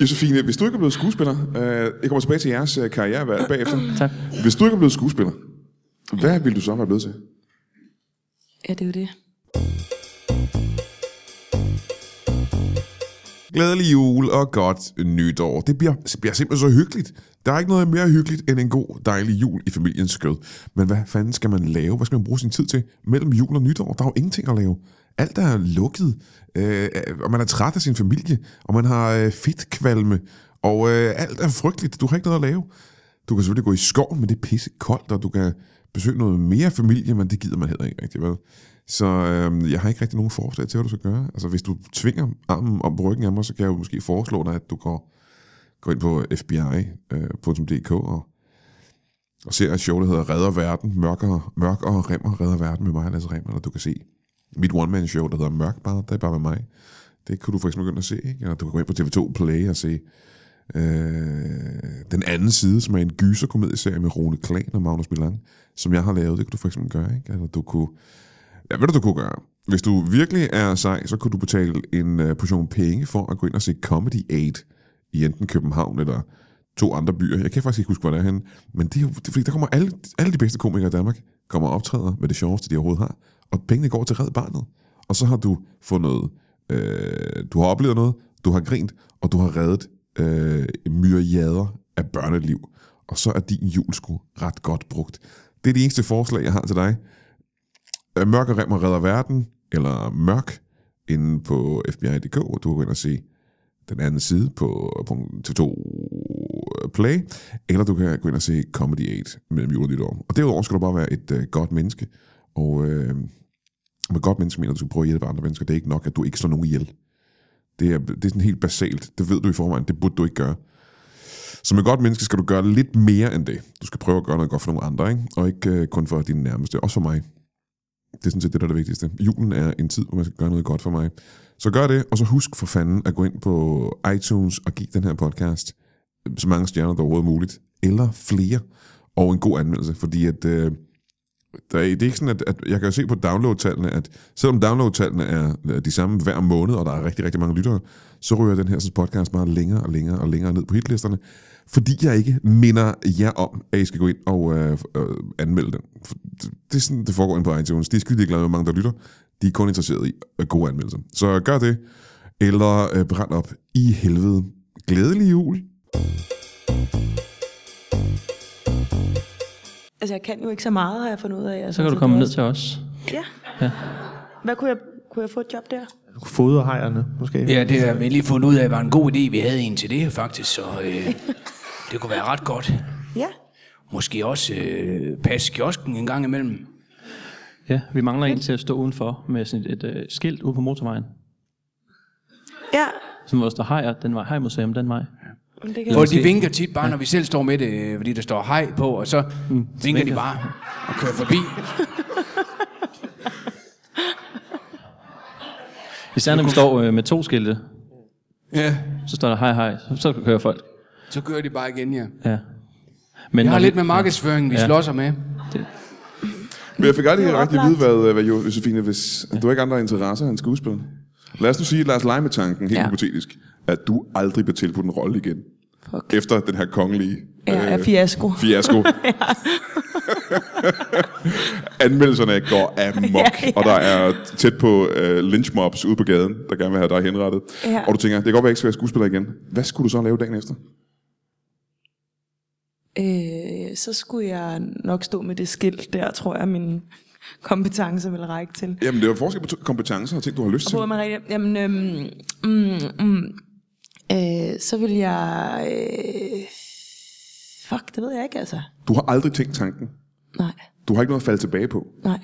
Speaker 2: Josefine, hvis du ikke er blevet skuespiller, øh, jeg kommer tilbage til jeres øh, karriere hver- bagefter.
Speaker 6: Tak.
Speaker 2: Hvis du ikke er blevet skuespiller, hvad ville du så være blevet til?
Speaker 3: Ja, det er jo det.
Speaker 1: Glædelig jul og godt nytår. Det bliver, det bliver simpelthen så hyggeligt. Der er ikke noget mere hyggeligt end en god, dejlig jul i familiens skød. Men hvad fanden skal man lave? Hvad skal man bruge sin tid til mellem jul og nytår? Der er jo ingenting at lave. Alt er lukket, øh, og man er træt af sin familie, og man har øh, fedtkvalme, og øh, alt er frygteligt. Du har ikke noget at lave. Du kan selvfølgelig gå i skoven, men det er pisse koldt, og du kan
Speaker 2: besøge noget mere familie, men det gider man heller ikke rigtig, vel? Så øhm, jeg har ikke rigtig nogen forslag til, hvad du skal gøre. Altså, hvis du tvinger armen om på ryggen af mig, så kan jeg jo måske foreslå dig, at du går, går ind på øh, fbi.dk og, og ser et show, der hedder Redder Verden, Mørkere, mørkere Remmer, Redder Verden med mig, Lasse Remmer, eller du kan se mit one-man-show, der hedder Mørk bare, der er bare med mig. Det kunne du for eksempel begynde at se, ikke? Eller du kan gå ind på TV2 Play og se Øh, den anden side, som er en gyserkomedieserie med Rune Klan og Magnus Milan, som jeg har lavet, det kunne du for eksempel gøre, ikke? Eller du kunne... Ja, ved du, du kunne gøre? Hvis du virkelig er sej, så kunne du betale en øh, portion penge for at gå ind og se Comedy 8 i enten København eller to andre byer. Jeg kan faktisk ikke huske, hvor det er henne. Men det er jo, det er, fordi der kommer alle, alle de bedste komikere i Danmark, kommer og optræder med det sjoveste, de overhovedet har. Og pengene går til Red Barnet. Og så har du fået noget, øh, du har oplevet noget, du har grint, og du har reddet øh, myriader af børneliv. Og så er din jul sgu ret godt brugt. Det er det eneste forslag, jeg har til dig. Øh, Mørk og Remmer redder verden, eller Mørk, inde på FBI.dk, og du kan gå ind og se den anden side på, på TV2 Play, eller du kan gå ind og se Comedy 8 mellem jul og nytår. Og derudover skal du bare være et øh, godt menneske, og øh, med godt menneske mener du, at du skal prøve at hjælpe andre mennesker. Det er ikke nok, at du ikke slår nogen ihjel. Det er, det er sådan helt basalt. Det ved du i forvejen. Det burde du ikke gøre. Som et godt menneske skal du gøre lidt mere end det. Du skal prøve at gøre noget godt for nogle andre, ikke? og ikke øh, kun for dine nærmeste. Også for mig. Det er sådan set det, der er det vigtigste. Julen er en tid, hvor man skal gøre noget godt for mig. Så gør det, og så husk for fanden at gå ind på iTunes og give den her podcast øh, så mange stjerner, der overhovedet muligt. Eller flere. Og en god anmeldelse, fordi at... Øh, der er, det er ikke sådan, at, at jeg kan jo se på downloadtallene, at selvom downloadtallene er de samme hver måned, og der er rigtig, rigtig mange lyttere, så ryger den her sådan, podcast meget længere og længere og længere ned på hitlisterne, fordi jeg ikke minder jer om, at I skal gå ind og øh, øh, anmelde den. For det, det er sådan, det foregår ind på iTunes. De er skide glade med, hvor mange der lytter. De er kun interesseret i øh, gode anmeldelser. Så gør det, eller øh, brænd op i helvede. Glædelig jul!
Speaker 3: Altså, jeg kan jo ikke så meget, har jeg fundet ud af. Altså,
Speaker 6: Så kan du komme ned til os.
Speaker 3: Ja. Hvad kunne jeg, kunne jeg få et job der?
Speaker 5: Foderhejerne, måske.
Speaker 4: Ja, det har vi lige fundet ud af, var en god idé, vi havde en til det faktisk, så øh, det kunne være ret godt.
Speaker 3: Ja.
Speaker 4: Måske også øh, passe kiosken en gang imellem.
Speaker 6: Ja, vi mangler en til at stå udenfor med sådan et, et, øh, skilt ude på motorvejen.
Speaker 3: Ja.
Speaker 6: Som hvor der står hejer, den vej, hejmuseum, den vej.
Speaker 3: Men det kan
Speaker 4: Hvor
Speaker 3: jeg.
Speaker 4: de vinker tit bare, når vi selv står med det, øh, fordi der står hej på, og så mm, vinker de
Speaker 6: vinker.
Speaker 4: bare og kører forbi.
Speaker 6: Især når vi står øh, med to skilte,
Speaker 4: Ja,
Speaker 6: så står der hej, hej, så, så kører folk.
Speaker 4: så kører de bare igen, ja.
Speaker 6: Ja. Men
Speaker 4: Jeg har
Speaker 6: når vi-
Speaker 4: lidt med markedsføring, vi
Speaker 6: Ja.
Speaker 4: slås med.
Speaker 7: Men jeg fik aldrig
Speaker 3: Det er
Speaker 7: rigtig at vide,
Speaker 3: oplagt.
Speaker 7: hvad, hvad Jo- Josefine, hvis du har ikke andre interesser end skuespil. Lad os nu sige, lad os lege med tanken, helt ja.
Speaker 3: Ja.
Speaker 7: hypotetisk, at du aldrig bliver tilbudt en rolle igen. Fuck. Efter den her kongelige øh,
Speaker 3: Ja, er fiasko.
Speaker 7: fiasko. Anmeldelserne går amok, ja,
Speaker 3: Ja,
Speaker 7: ja.
Speaker 3: ja.
Speaker 7: og der er tæt på øh, lynchmobs ude på gaden, der gerne vil have dig henrettet.
Speaker 3: Ja.
Speaker 7: Og du tænker, det kan godt være, jeg ikke skal være skuespiller igen. Hvad skulle du så lave dagen efter?
Speaker 3: Øh, så skulle jeg nok stå med det skilt der, tror jeg, mine kompetencer vil række til.
Speaker 7: Jamen, det er jo forskel på t- kompetencer og ting, du har lyst til.
Speaker 3: Bruger man rigtigt? Jamen, øhm, mm, mm, øh, så vil jeg... Øh, fuck, det ved jeg ikke, altså.
Speaker 7: Du har aldrig tænkt tanken.
Speaker 3: Nej,
Speaker 7: Du har ikke noget at falde tilbage på
Speaker 3: nej.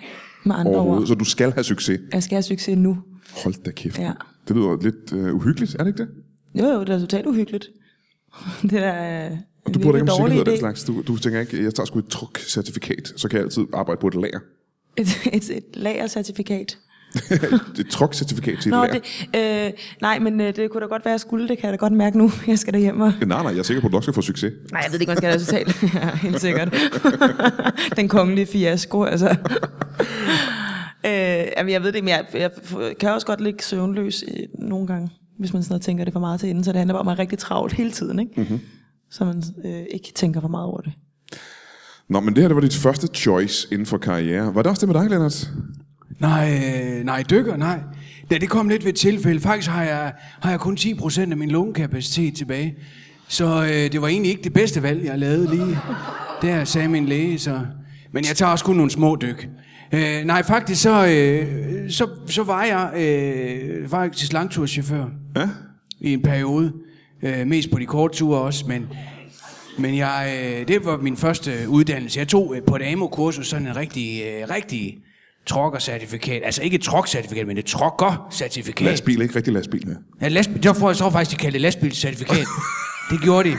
Speaker 3: Med andre ord.
Speaker 7: overhovedet, så du skal have succes.
Speaker 3: Jeg skal have succes nu.
Speaker 7: Hold da kæft.
Speaker 3: Ja.
Speaker 7: Det lyder lidt øh, uhyggeligt, er det ikke det?
Speaker 3: Jo, jo, det er totalt uhyggeligt. Det er da... øh,
Speaker 7: Og du burde
Speaker 3: virkelig
Speaker 7: ikke have
Speaker 3: dårlig
Speaker 7: sikkerhed af den
Speaker 3: idé.
Speaker 7: slags. Du, du tænker ikke, jeg tager sgu et trukcertifikat, så kan jeg altid arbejde på et lager.
Speaker 3: Et, et, et lagercertifikat.
Speaker 7: Et trukcertifikat til et
Speaker 3: Nå,
Speaker 7: lager.
Speaker 3: det, øh, nej, men øh, det kunne da godt være, at jeg skulle. Det kan jeg da godt mærke nu. Jeg skal derhjem og...
Speaker 7: Nej, nej, jeg er sikker på, at du også skal få succes.
Speaker 3: Nej, jeg ved ikke, man skal have resultat. ja, helt sikkert. Den kongelige fiasko, altså. øh, jamen, jeg ved det, men jeg, jeg kan også godt ligge søvnløs øh, nogle gange, hvis man sådan noget tænker det for meget til inden. Så det handler bare om at være rigtig travlt hele tiden, ikke? Mm-hmm. Så man øh, ikke tænker for meget over det.
Speaker 7: Nå, men det her det var dit første choice inden for karriere. Var det også det med dig, Lennart?
Speaker 4: Nej, øh, nej, dykker, nej. Da det kom lidt ved et tilfælde, faktisk har jeg, har jeg kun 10% af min lungekapacitet tilbage. Så øh, det var egentlig ikke det bedste valg, jeg lavede lige. Der sagde min læge, så... Men jeg tager også kun nogle små dyk. Øh, nej, faktisk så, øh, så, så var jeg øh, faktisk langturschauffør
Speaker 7: Ja.
Speaker 4: i en periode. Øh, mest på de korte ture også, men Men jeg, øh, det var min første uddannelse. Jeg tog øh, på et AMO-kursus sådan en rigtig, øh, rigtig trokkercertifikat. Altså ikke et trokcertifikat, men et trokkercertifikat.
Speaker 2: Lastbil er ikke rigtig lastbil mere.
Speaker 4: Ja, lastbil. Det var for, jeg så faktisk, de kaldte det lastbilscertifikat. det gjorde de.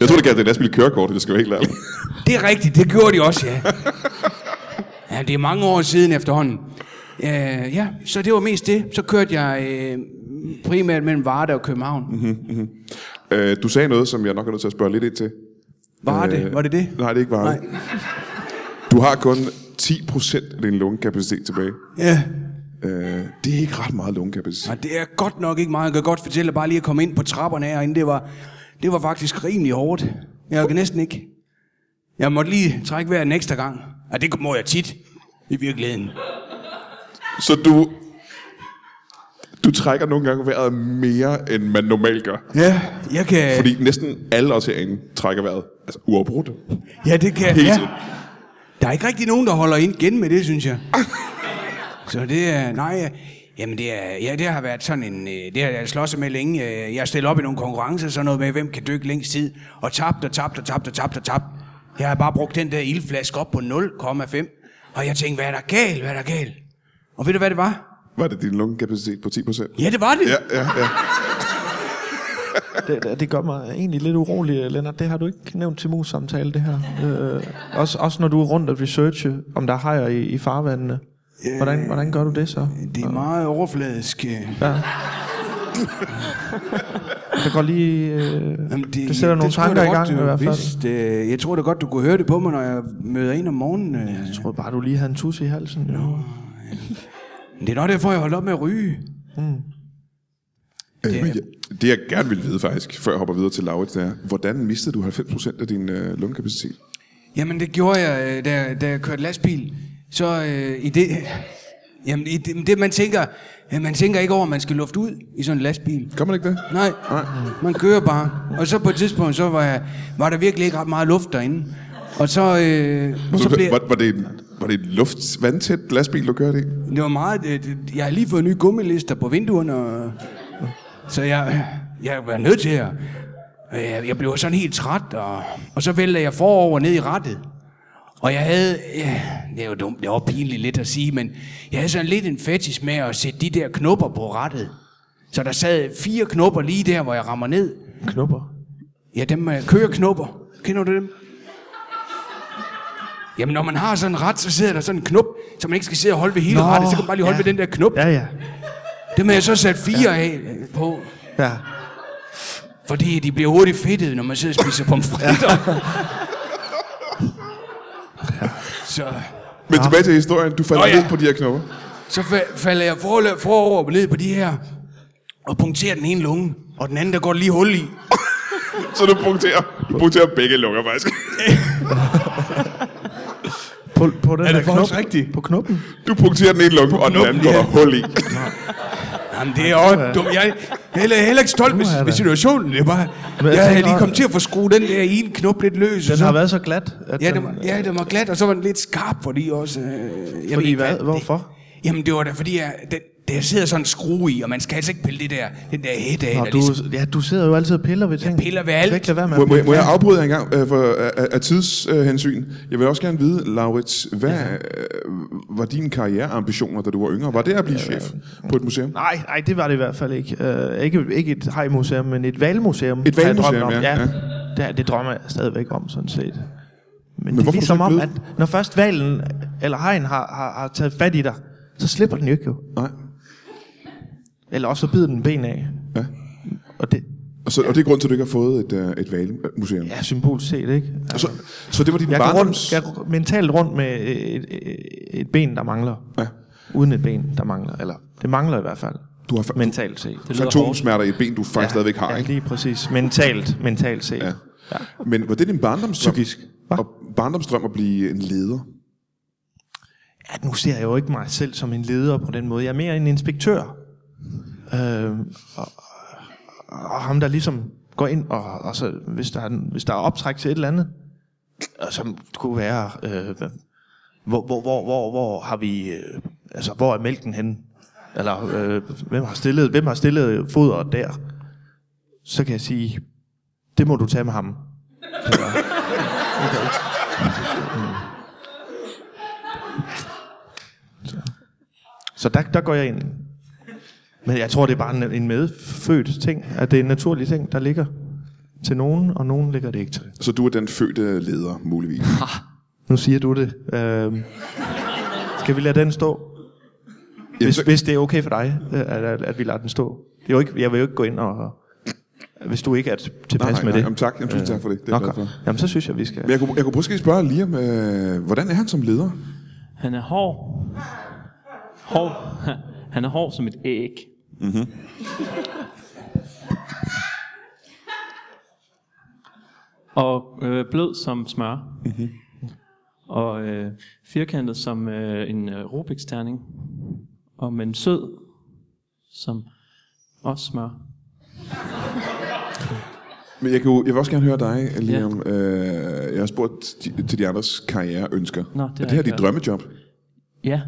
Speaker 2: Jeg tror, det kaldte det lastbil kørekort, det skal være helt ærligt.
Speaker 4: Det er rigtigt, det gjorde de også, ja. ja det er mange år siden efterhånden. Øh, ja, så det var mest det. Så kørte jeg øh, primært mellem Varde og København.
Speaker 2: Mhm.
Speaker 4: Mm-hmm.
Speaker 2: Øh, du sagde noget, som jeg nok er nødt til at spørge lidt ind til.
Speaker 4: Varde,
Speaker 2: Øh,
Speaker 4: var det det?
Speaker 2: Nej, det er ikke Varde. Nej. Du har kun 10% af din lungekapacitet tilbage.
Speaker 4: Ja.
Speaker 2: Øh, det er ikke ret meget lungekapacitet.
Speaker 4: Og det er godt nok ikke meget. Jeg kan godt fortælle dig bare lige at komme ind på trapperne herinde. Det var, det var faktisk rimelig hårdt. Jeg kan næsten ikke. Jeg måtte lige trække vejret en ekstra gang. Og det må jeg tit. I virkeligheden.
Speaker 2: Så du... Du trækker nogle gange vejret mere, end man normalt gør.
Speaker 4: Ja, jeg kan...
Speaker 2: Fordi næsten alle os herinde trækker vejret altså, uafbrudt.
Speaker 4: Ja, det kan
Speaker 2: Hele
Speaker 4: ja.
Speaker 2: tiden.
Speaker 4: Der er ikke rigtig nogen, der holder ind igen med det, synes jeg. Så det er... Nej, jamen det, er, ja, det har været sådan en... øh, Det har jeg slåsset med længe. Øh, Jeg stiller op i nogle konkurrencer, sådan noget med, hvem kan dykke længst tid. Og tabt og tabt og tabt og tabt og tabt. Jeg har bare brugt den der ildflaske op på 0,5. Og jeg tænkte, hvad er der galt? Hvad er der galt? Og ved du, hvad det var?
Speaker 2: Var det din lungekapacitet på 10%?
Speaker 4: Ja, det var det.
Speaker 2: Ja, ja, ja.
Speaker 5: Det, det- det gør mig egentlig lidt urolig, øh, Lennart. Det har du ikke nævnt til mus-samtale, det her. Øh, også, også når du er rundt og researche, om der er hajer i, i farvandene. Hvordan, hvordan gør du det så?
Speaker 4: Det er meget overfladisk. øh.
Speaker 5: Det går lige... Øh,
Speaker 4: Jamen,
Speaker 5: det, det sætter nogle
Speaker 4: tror jeg
Speaker 5: tanker
Speaker 4: da
Speaker 5: i
Speaker 4: godt,
Speaker 5: gang i
Speaker 4: du
Speaker 5: hvert fald.
Speaker 4: vidste. Øh, Jeg tror da godt, du kunne høre det på mig, når jeg møder ind om morgenen. øh.
Speaker 5: Jeg troede bare, du lige havde en tus i halsen. øh, No.
Speaker 4: Men Det er nok derfor, jeg holdt op med at ryge.
Speaker 2: Øh, men jeg- Det jeg gerne vil vide faktisk, før jeg hopper videre til Laurits, det er, hvordan mistede du 90% af din øh, lungekapacitet?
Speaker 4: Jamen, det gjorde jeg, øh, da, da jeg kørte lastbil. Så øh, i det... Jamen, i det, det man tænker... øh, Man tænker ikke over, at man skal lufte ud i sådan en lastbil.
Speaker 2: Gør man ikke det?
Speaker 4: Nej, man kører bare. Og så på et tidspunkt, så var, jeg, var der virkelig ikke ret meget luft derinde. Og så, øh, så
Speaker 2: Så
Speaker 4: blev,
Speaker 2: Altså, var, var, det en, var det en luft, vandtæt lastbil, du kørte i?
Speaker 4: det var meget... Øh, det- jeg har lige fået nye gummilister på vinduerne, og, så jeg, jeg var nødt til at... øh, Jeg, jeg blev sådan helt træt, og, og så væltede jeg forover ned i rattet. Og jeg havde, ja, det er jo dumt, det var pinligt lidt at sige, men jeg havde sådan lidt en fetish med at sætte de der knopper på rattet. Så der sad fire knopper lige der, hvor jeg rammer ned.
Speaker 5: Knupper.
Speaker 4: Ja, dem med køreknopper. Kender du dem? Jamen, når man har sådan en ret, så sidder der sådan en knop, så man ikke skal sidde og holde ved hele
Speaker 5: Nå,
Speaker 4: rettet, så kan man bare lige holde
Speaker 5: ja.
Speaker 4: ved den der knop.
Speaker 5: Ja, ja.
Speaker 4: Dem har jeg så sat fire af øh, på,
Speaker 5: Ja,
Speaker 4: fordi de bliver hurtigt fedtede, når man sidder og spiser pomfritter. så,
Speaker 2: Men tilbage til historien, du faldt
Speaker 4: Nå, ja.
Speaker 2: ned på de her knopper.
Speaker 4: så fa- falder jeg forløb forover ned på de her, og punkterer den ene lunge, og den anden, der går lige hul i.
Speaker 2: Så du punkterer, du punkterer begge lunger faktisk.
Speaker 5: på, på den
Speaker 4: Er
Speaker 5: der
Speaker 4: det faktisk
Speaker 5: knop,
Speaker 4: rigtigt?
Speaker 5: På knuppen.
Speaker 2: Du punkterer den ene lunge, og den anden går der hul i.
Speaker 4: Jamen, det er også dumt. Jeg er heller, heller ikke stolt
Speaker 5: Nu er
Speaker 4: med, med
Speaker 5: der-
Speaker 4: situationen. Det er bare,
Speaker 5: Men jeg
Speaker 4: jeg havde
Speaker 5: tænker
Speaker 4: lige
Speaker 5: også-
Speaker 4: kommet til at få skruet den der ene knop lidt løs. og
Speaker 5: Den
Speaker 4: så-
Speaker 5: har været så glat, at
Speaker 4: Ja,
Speaker 5: den,
Speaker 4: det var, ja, det var glat, og så var den lidt skarp, fordi også... Øh, jeg
Speaker 5: Fordi
Speaker 4: ikke,
Speaker 5: hvad?
Speaker 4: det-
Speaker 5: Hvorfor?
Speaker 4: Jamen, det var da, fordi jeg, den, der sidder sådan en skrue i, og man skal altså ikke pille det der, den der hæt af.
Speaker 5: Nå,
Speaker 4: der
Speaker 5: du,
Speaker 4: ligesom-
Speaker 5: ja, du sidder jo altid og piller ved ting.
Speaker 4: piller ved alt.
Speaker 5: Du kan ikke lade være med
Speaker 2: Må,
Speaker 5: at
Speaker 2: må,
Speaker 5: pille.
Speaker 2: jeg- må jeg afbryde jer en gang øh, for, af, af- af tidshensyn? Jeg vil også gerne vide, Laurits, hvad øh, var dine karriereambitioner, da du var yngre? Var det at blive chef på et museum?
Speaker 5: Nej, nej, det var det i hvert fald ikke. Uh, ikke, ikke et hajmuseum, men et valmuseum. har jeg
Speaker 2: hvalmuseum,
Speaker 5: drømt om.
Speaker 2: ja,
Speaker 5: ja. Det, det drømmer jeg stadigvæk om, sådan set. Men, Men det
Speaker 2: hvorfor
Speaker 5: er
Speaker 2: er du
Speaker 5: ligesom
Speaker 2: så
Speaker 5: om,
Speaker 2: ikke
Speaker 5: at når først valen eller hajen har, har, har taget fat i dig, så slipper den jo ikke jo.
Speaker 2: Nej.
Speaker 5: Eller også så bider den ben af.
Speaker 2: Ja.
Speaker 5: Og det
Speaker 2: Og, så, og det er grund til, at du ikke har fået et, øh, et valmuseum?
Speaker 5: er symbolsk set, ikke?
Speaker 2: Så, så det var din
Speaker 5: Jeg går, rundt,
Speaker 2: Altså, barndoms...
Speaker 5: jeg går mentalt rundt med et, et, et ben, der mangler.
Speaker 2: Ja.
Speaker 5: Uden et ben, der mangler. Eller det mangler i hvert fald.
Speaker 2: Du har fa-
Speaker 5: mentalt set.
Speaker 6: Det lyder hårdt.
Speaker 2: fantomsmerter i et ben, du faktisk ja, stadigvæk har,
Speaker 5: ja,
Speaker 2: ikke?
Speaker 5: lige præcis. Mentalt, mentalt set.
Speaker 2: Ja.
Speaker 5: Ja.
Speaker 2: Men var det din barndomsdrøm?
Speaker 5: Psykisk. Hva?
Speaker 2: Og barndomsdrøm at blive en leder?
Speaker 5: ja, nu ser jeg jo ikke mig selv som en leder på den måde. Jeg er mere en inspektør. Øh, og, og ham, der ligesom går ind, og, og så, hvis, der er, en- hvis der er optræk til et eller andet, og som kunne være, øh, hvad- hvor, hvor, hvor, hvor, hvor har vi, øh, altså, hvor er mælken henne? Eller øh, hvem, har stillet, hvem har stillet fodret der? Så kan jeg sige, det må du tage med ham. Eller, okay. Så der, der går jeg ind. Men jeg tror, det er bare en, en medfødt ting, at det er en naturlig ting, der ligger til nogen, og nogen ligger det ikke til.
Speaker 2: Så du er den fødte leder, muligvis.
Speaker 5: Nu siger du det. Øhm, skal vi lade den stå? Hvis,
Speaker 2: så-
Speaker 5: hvis det er okay for dig, øh, at, at, at vi lader den stå. Det er jo ikke, jeg vil jo ikke gå ind og... Hvis du ikke er tilpas
Speaker 2: Nej,
Speaker 5: med
Speaker 2: nej,
Speaker 5: det.
Speaker 2: jamen tak. Jamen, tusind tak for det. Det er
Speaker 5: Nå,
Speaker 2: jeg glad for.
Speaker 5: godt. Jamen, så synes jeg, vi skal...
Speaker 2: Men jeg kunne, jeg kunne måske spørge Liam, øh, hvordan er han som leder?
Speaker 6: Han er hård. Hård. Han er hård som et æg.
Speaker 4: Mm-hmm.
Speaker 6: Og øh, blød som smør.
Speaker 4: Mm-hmm.
Speaker 6: Og øh, firkantet som øh, en øh, Rubik's terning. Og men sød som også smør.
Speaker 2: Men jeg, kunne, jeg vil også gerne høre dig, Liam. Ja. Øh, jeg har spurgt ti- til de andres karriereønsker.
Speaker 6: Nå, det har
Speaker 2: er det
Speaker 6: jeg
Speaker 2: her
Speaker 6: ikke
Speaker 2: dit
Speaker 6: hørt.
Speaker 2: drømmejob?
Speaker 6: Ja.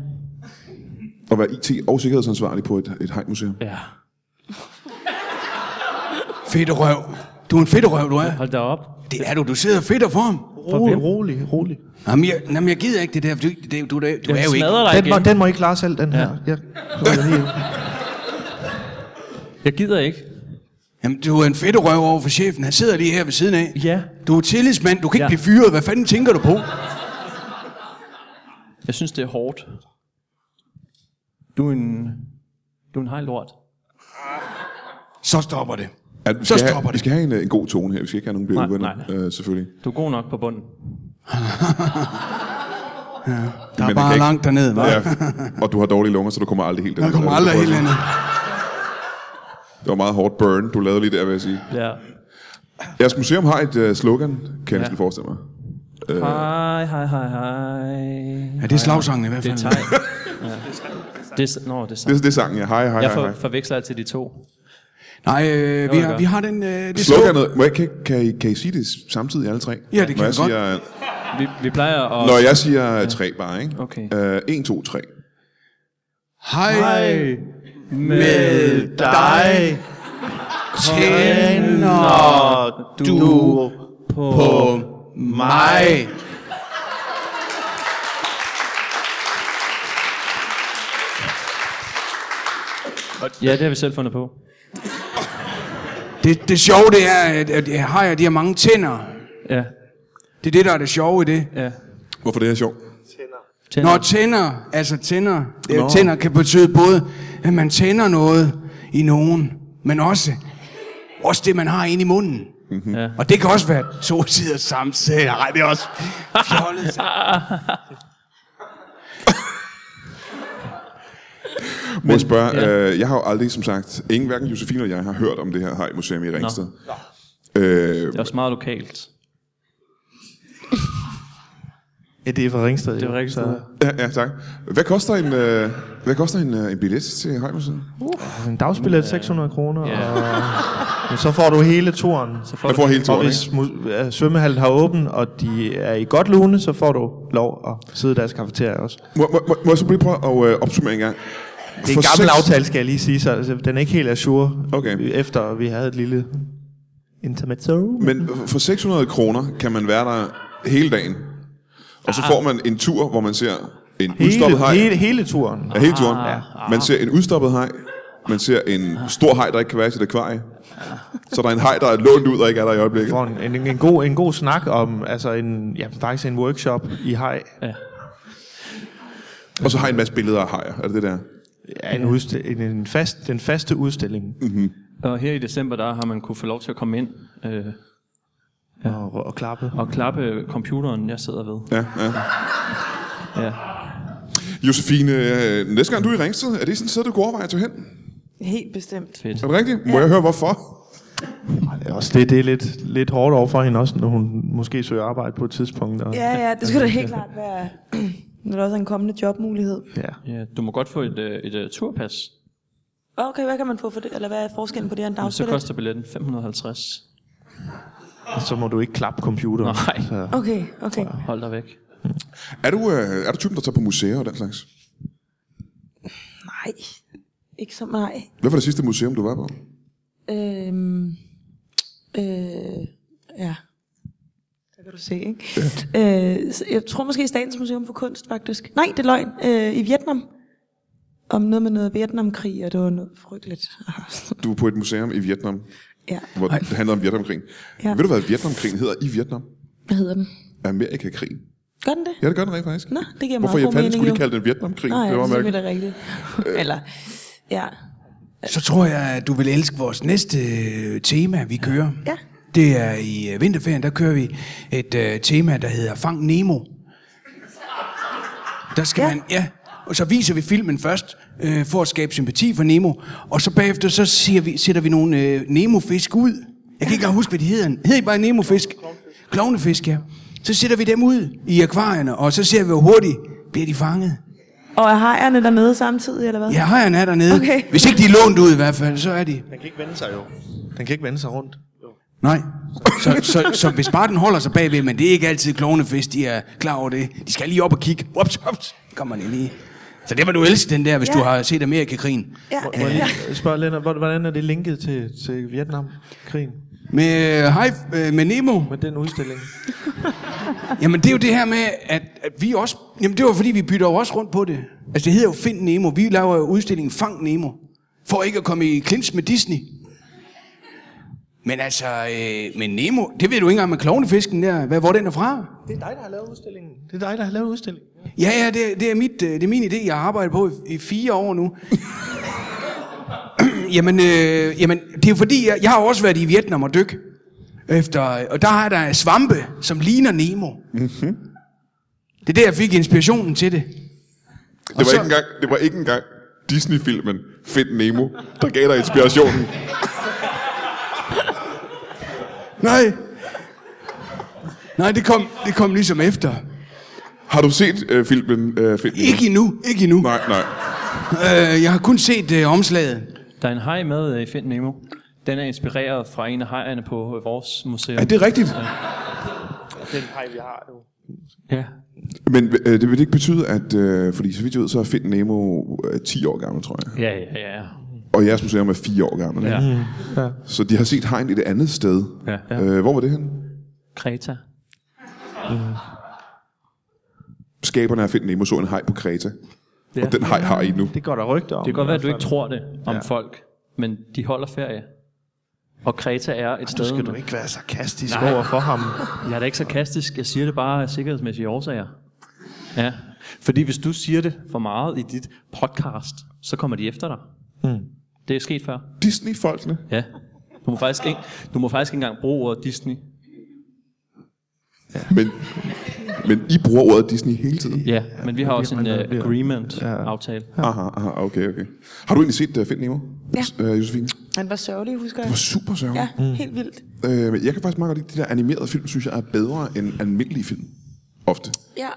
Speaker 2: At være IT- og sikkerhedsansvarlig på et, et hejmuseum?
Speaker 6: Ja.
Speaker 4: Fedt røv. Du er en fedt røv, du er.
Speaker 6: Hold da op.
Speaker 4: Det er du. Du sidder fedt og form.
Speaker 5: Rolig, rolig, rolig.
Speaker 4: Jamen, jeg, jamen, jeg gider ikke det der. for Du, det, du, det, du er
Speaker 6: Jeg
Speaker 4: jo ikke.
Speaker 6: smadrer dig
Speaker 5: Den må,
Speaker 6: igen.
Speaker 5: den må I klare selv, den her. Ja. Jeg, jeg lige,
Speaker 6: Jeg gider ikke.
Speaker 4: Jamen, du er en fedt røv over for chefen. Han sidder lige her ved siden af.
Speaker 6: Ja.
Speaker 4: Du er tillidsmand. Du kan ikke
Speaker 6: Ja.
Speaker 4: blive fyret. Hvad fanden tænker du på?
Speaker 6: Jeg synes, det er hårdt. Du er en... Du er en hej lort.
Speaker 4: Så stopper det.
Speaker 2: At vi
Speaker 4: Så
Speaker 2: skal have,
Speaker 4: stopper
Speaker 2: Vi
Speaker 4: det.
Speaker 2: skal have en, øh, en god tone her. Vi skal ikke have nogen blive
Speaker 6: Nej,
Speaker 2: uvenner, øh, selvfølgelig.
Speaker 6: Du er god nok på bunden.
Speaker 4: Der er
Speaker 2: Men han kan
Speaker 4: bare
Speaker 2: ikke-
Speaker 4: langt dernede, hva'?
Speaker 2: Ja. Og du har dårlige lunger, så du kommer aldrig helt
Speaker 4: Der kommer aldrig helt andet.
Speaker 2: Det var meget hårdt burn, du lavede lige der, vil jeg sige.
Speaker 6: Ja.
Speaker 2: Jeres museum har et øh, slogan, kan jeg næsten
Speaker 6: Ja.
Speaker 2: forestille mig.
Speaker 6: Hej, hej, hej, hej.
Speaker 4: Ja, det er slagsangen i hvert
Speaker 6: Det er
Speaker 4: fald.
Speaker 6: tegn. Ja. Det er, nå, det er
Speaker 2: Det,
Speaker 6: sang.
Speaker 2: det er sangen, ja. Hej, hej,
Speaker 6: Jeg
Speaker 2: hej,
Speaker 6: for,
Speaker 2: hej.
Speaker 6: forveksler altid de to.
Speaker 4: Nej, øh, vi,
Speaker 6: det
Speaker 4: har,
Speaker 6: gør.
Speaker 4: vi har den... Øh, det er
Speaker 2: Sloganet, må jeg, kan, kan, I, kan I sige det samtidig alle tre?
Speaker 4: Ja, det
Speaker 2: Når
Speaker 4: kan
Speaker 2: jeg
Speaker 4: vi godt.
Speaker 2: Siger,
Speaker 6: Vi, vi plejer at...
Speaker 2: når jeg siger ja. tre bare, ikke?
Speaker 6: Okay.
Speaker 2: Øh, en, to, tre.
Speaker 4: Hej, Hej
Speaker 6: med
Speaker 5: dig tænder
Speaker 6: du du på... på.
Speaker 4: mig.
Speaker 6: Ja, det har vi selv fundet på.
Speaker 4: Det, det sjove det er, at, at hajer de har mange tænder.
Speaker 6: Ja,
Speaker 4: Det er det, der er det sjove i det.
Speaker 6: ja.
Speaker 2: Hvorfor det er sjovt?
Speaker 6: Tænder.
Speaker 4: Nå, tænder, altså tænder. Det er jo,
Speaker 2: Nå.
Speaker 4: tænder kan betyde både, at man tænder noget i nogen, men også, også det, man har inde i munden. Mm-hmm.
Speaker 6: Mhm. Ja.
Speaker 4: Og det kan også være to sider samtidig. Nej, det er også fjollet.
Speaker 2: Må jeg spørge, ja. øh, jeg har jo aldrig, som sagt, ingen, hverken Josefine eller jeg, har hørt om det her hejmuseum i Ringsted. Øh,
Speaker 6: Det er også meget lokalt.
Speaker 5: Ja, det er fra Ringsted.
Speaker 6: Det er
Speaker 5: jo,
Speaker 6: rigtig
Speaker 5: så-
Speaker 6: sted.
Speaker 2: ja, ja, tak. Hvad koster en, øh, hvad koster en, øh, en billet til hejmuseum?
Speaker 5: En dagsbillet 600 kroner,
Speaker 6: Ja.
Speaker 5: og men så får du hele turen.
Speaker 6: Så får
Speaker 2: Jeg
Speaker 6: du
Speaker 2: får hele
Speaker 5: Og
Speaker 2: turen,
Speaker 5: hvis
Speaker 2: ikke?
Speaker 5: mu- øh, svømmehallen har åben, og de er i godt lune, så får du lov at sidde i deres kafeteria også.
Speaker 2: Må, må, må, må jeg så lige prøve at øh, opsummere en gang?
Speaker 5: Det er en gammel aftale, skal jeg lige sige, så altså, den er ikke helt assure,
Speaker 2: Okay.
Speaker 5: efter vi havde et lille intermezzo.
Speaker 2: Men for 600 kroner kan man være der hele dagen. Og så får man en tur, hvor man ser en udstoppet
Speaker 5: Hele,
Speaker 2: hej.
Speaker 5: hele, hele turen.
Speaker 2: Ja, hele
Speaker 3: Ah,
Speaker 2: turen. Man ser en udstoppet hej. Man ser en stor hej, der ikke kan være i sit akvarie. Så er der en hej, der er lånt ud og ikke er der i øjeblikket.
Speaker 5: får en, en, en, god, en god snak om, altså en, ja, faktisk en workshop i hej.
Speaker 6: Ja.
Speaker 2: Og så har jeg en masse billeder af hajer. Er det det der?
Speaker 5: Ja, en, udsti- en, en fast, den faste udstilling.
Speaker 6: Og her i december, der har man kunne få lov til at komme ind øh,
Speaker 5: Ja. Og, og klappe.
Speaker 6: og klappe computeren, jeg sidder ved.
Speaker 2: Ja, ja.
Speaker 6: Ja.
Speaker 2: Josefine, øh, næste gang du er i Ringsted, er det sådan et sted, du kunne overveje at tage hen?
Speaker 3: Helt bestemt.
Speaker 2: Er det rigtigt? Må jeg høre, hvorfor?
Speaker 5: Ja, Også det, det er lidt, lidt hårdt over for hende også, når hun måske søger arbejde på et tidspunkt. Og,
Speaker 3: Ja, ja, det skulle da helt klart være, når der også er en kommende jobmulighed.
Speaker 5: ja.
Speaker 6: ja. Du må godt få et, øh, et, et turpas.
Speaker 3: Okay, hvad kan man få for det? Eller hvad er forskellen på det og en
Speaker 6: Så
Speaker 3: dagsbillet?
Speaker 6: koster billetten 550.
Speaker 5: Og så må du ikke klappe computeren.
Speaker 6: Nej.
Speaker 5: Så.
Speaker 3: Okay, okay.
Speaker 6: Hold dig væk.
Speaker 2: Er du, øh, er du typen, der tager på museer og den slags?
Speaker 3: Nej, ikke så nej.
Speaker 2: Hvad var det sidste museum, du var på?
Speaker 3: Øhm, øh, ja. der kan du se, ikke? Øh, så jeg tror måske Statens Museum for Kunst, faktisk. Nej, det er løgn. Øh, I Vietnam. Om noget med noget Vietnamkrig, og det var noget frygteligt.
Speaker 2: Du er på et museum i Vietnam,
Speaker 3: ja.
Speaker 2: hvor det handler om Vietnamkrigen. Ja.
Speaker 3: Ja.
Speaker 2: Ved du, hvad Vietnamkrigen hedder i Vietnam?
Speaker 3: Hvad hedder den?
Speaker 2: Amerikakrigen.
Speaker 3: Gør den det?
Speaker 2: Ja, det gør den rent faktisk.
Speaker 3: Nå, det giver
Speaker 2: Hvorfor
Speaker 3: meget god
Speaker 2: Japan
Speaker 3: mening,
Speaker 2: skulle de
Speaker 3: jo.
Speaker 2: kalde den Vietnamkrigen?
Speaker 3: Nej,
Speaker 2: det var
Speaker 3: det
Speaker 2: mærkeligt. Øh.
Speaker 3: er rigtigt. Eller, ja.
Speaker 4: Så tror jeg, at du vil elske vores næste øh, tema, vi kører.
Speaker 3: Ja.
Speaker 4: Det er i øh, vinterferien, der kører vi et øh, tema, der hedder Fang Nemo. Der skal ja.
Speaker 3: Ja.
Speaker 4: man, ja. Og så viser vi filmen først, øh, for at skabe sympati for Nemo. Og så bagefter, så siger vi, sætter vi nogle øh, Nemo-fisk ud. Jeg kan ikke engang huske, hvad de hedder. Hedder de bare Nemo-fisk? Klovnefisk, ja. Så sætter vi dem ud i akvarierne, og så ser vi, hvor hurtigt bliver de fanget.
Speaker 3: Og er hajerne dernede samtidig, eller hvad?
Speaker 4: Ja, hejerne er dernede.
Speaker 3: Okay.
Speaker 4: Hvis ikke de er lånt ud i hvert fald, så er de.
Speaker 5: Den kan ikke vende sig jo. Den kan ikke vende sig rundt.
Speaker 4: Nej. Så, så, så, så hvis bare den holder sig bagved, men det er ikke altid klovnefisk, de er klar over det. De skal lige op og kigge. Ups, ups, kommer de lige. Så det var du elske, den der, hvis ja.
Speaker 3: Ja.
Speaker 4: du har set Amerika-krigen.
Speaker 3: ja,
Speaker 5: Må,
Speaker 3: ja.
Speaker 5: må jeg
Speaker 3: ja.
Speaker 5: lige øh, spørge, Lennart, hvor- hvordan er det linket til, til Vietnamkrigen
Speaker 4: Med, øh, hej, øh, med Nemo.
Speaker 5: med den udstilling?
Speaker 4: Jamen det er jo det her med, at, at vi også... Jamen det var fordi, vi bytter jo også rundt på det. Altså det hedder jo Find Nemo. Vi laver jo udstillingen Fang Nemo. For ikke at komme i klins med Disney. Men altså, øh, men Nemo, det ved du ikke engang med klovnefisken der, hvad, hvor den er fra.
Speaker 5: Det er dig, der har lavet udstillingen. Det er dig, der har lavet udstillingen.
Speaker 4: Ja, ja, det, det, er, mit, øh, det er min idé, jeg har arbejdet på i, i fire år nu. jamen, øh, jamen, det er jo fordi, jeg, jeg har jo også været i Vietnam og dyk. Efter, og der er der svampe, som ligner Nemo. Mm-hmm. Det er der, jeg fik inspirationen til det.
Speaker 2: Det var,
Speaker 4: så-
Speaker 2: ikke engang, det var ikke engang Disney-filmen Find Nemo, der gav dig inspirationen.
Speaker 4: Nej. Nej, det kom, det kom ligesom efter.
Speaker 2: Har du set øh, filmen øh, Find Nemo?
Speaker 4: Ikke endnu, ikke endnu.
Speaker 2: Nej, nej.
Speaker 4: Øh, jeg har kun set øh, omslaget.
Speaker 6: Der er en haj med øh, i Find Nemo. Den er inspireret fra en af hajerne på øh, vores museum.
Speaker 2: Er det rigtigt?
Speaker 5: Den hej, vi har jo.
Speaker 6: Ja.
Speaker 2: Men øh, det vil ikke betyde, at... Øh, fordi så vidt jeg ved, så er Find Nemo øh, 10 år gammel, tror jeg.
Speaker 6: Ja, ja, ja.
Speaker 2: Og jeres museum er 4 år gammel.
Speaker 6: ja.
Speaker 2: Ja. Så de har set hegn et andet sted.
Speaker 6: Ja, ja.
Speaker 2: Øh, hvor var det hen?
Speaker 6: Kreta.
Speaker 2: Skaberne af Find Nemo så en hej på Kreta. Ja. Og den hej har I nu.
Speaker 5: Det går der rygter om.
Speaker 6: Det kan godt være, at du ikke tror det om ja. folk, men de holder ferie. Og Kreta er et sted...
Speaker 5: Nu skal du
Speaker 6: man-
Speaker 5: ikke være sarkastisk Nej. over for ham.
Speaker 6: Jeg er da ikke sarkastisk. Jeg siger det bare af sikkerhedsmæssige årsager. Ja. Fordi hvis du siger det for meget i dit podcast, så kommer de efter dig. Mm. Det er sket før.
Speaker 2: Disney-folkene.
Speaker 6: Ja. Du må faktisk ikke, du må faktisk ikke engang bruge ordet Disney.
Speaker 2: Men, men I bruger ordet Disney hele tiden.
Speaker 6: Ja, men vi har også en
Speaker 5: man
Speaker 6: uh,
Speaker 5: er- bliver-
Speaker 6: agreement-aftale.
Speaker 2: Aha, aha, okay, okay. Har du egentlig set uh, Find Nemo,
Speaker 3: Ja.
Speaker 2: uh, Josefine? Det
Speaker 3: Han var sørgelig, husker
Speaker 2: var
Speaker 3: jeg.
Speaker 2: super sørgelig. Mm.
Speaker 3: Ja,
Speaker 2: Ja.
Speaker 3: helt vildt.
Speaker 2: Øh, men jeg kan faktisk meget godt lide, at de der animerede film, synes jeg er bedre end almindelige film. Ofte.
Speaker 3: Ja,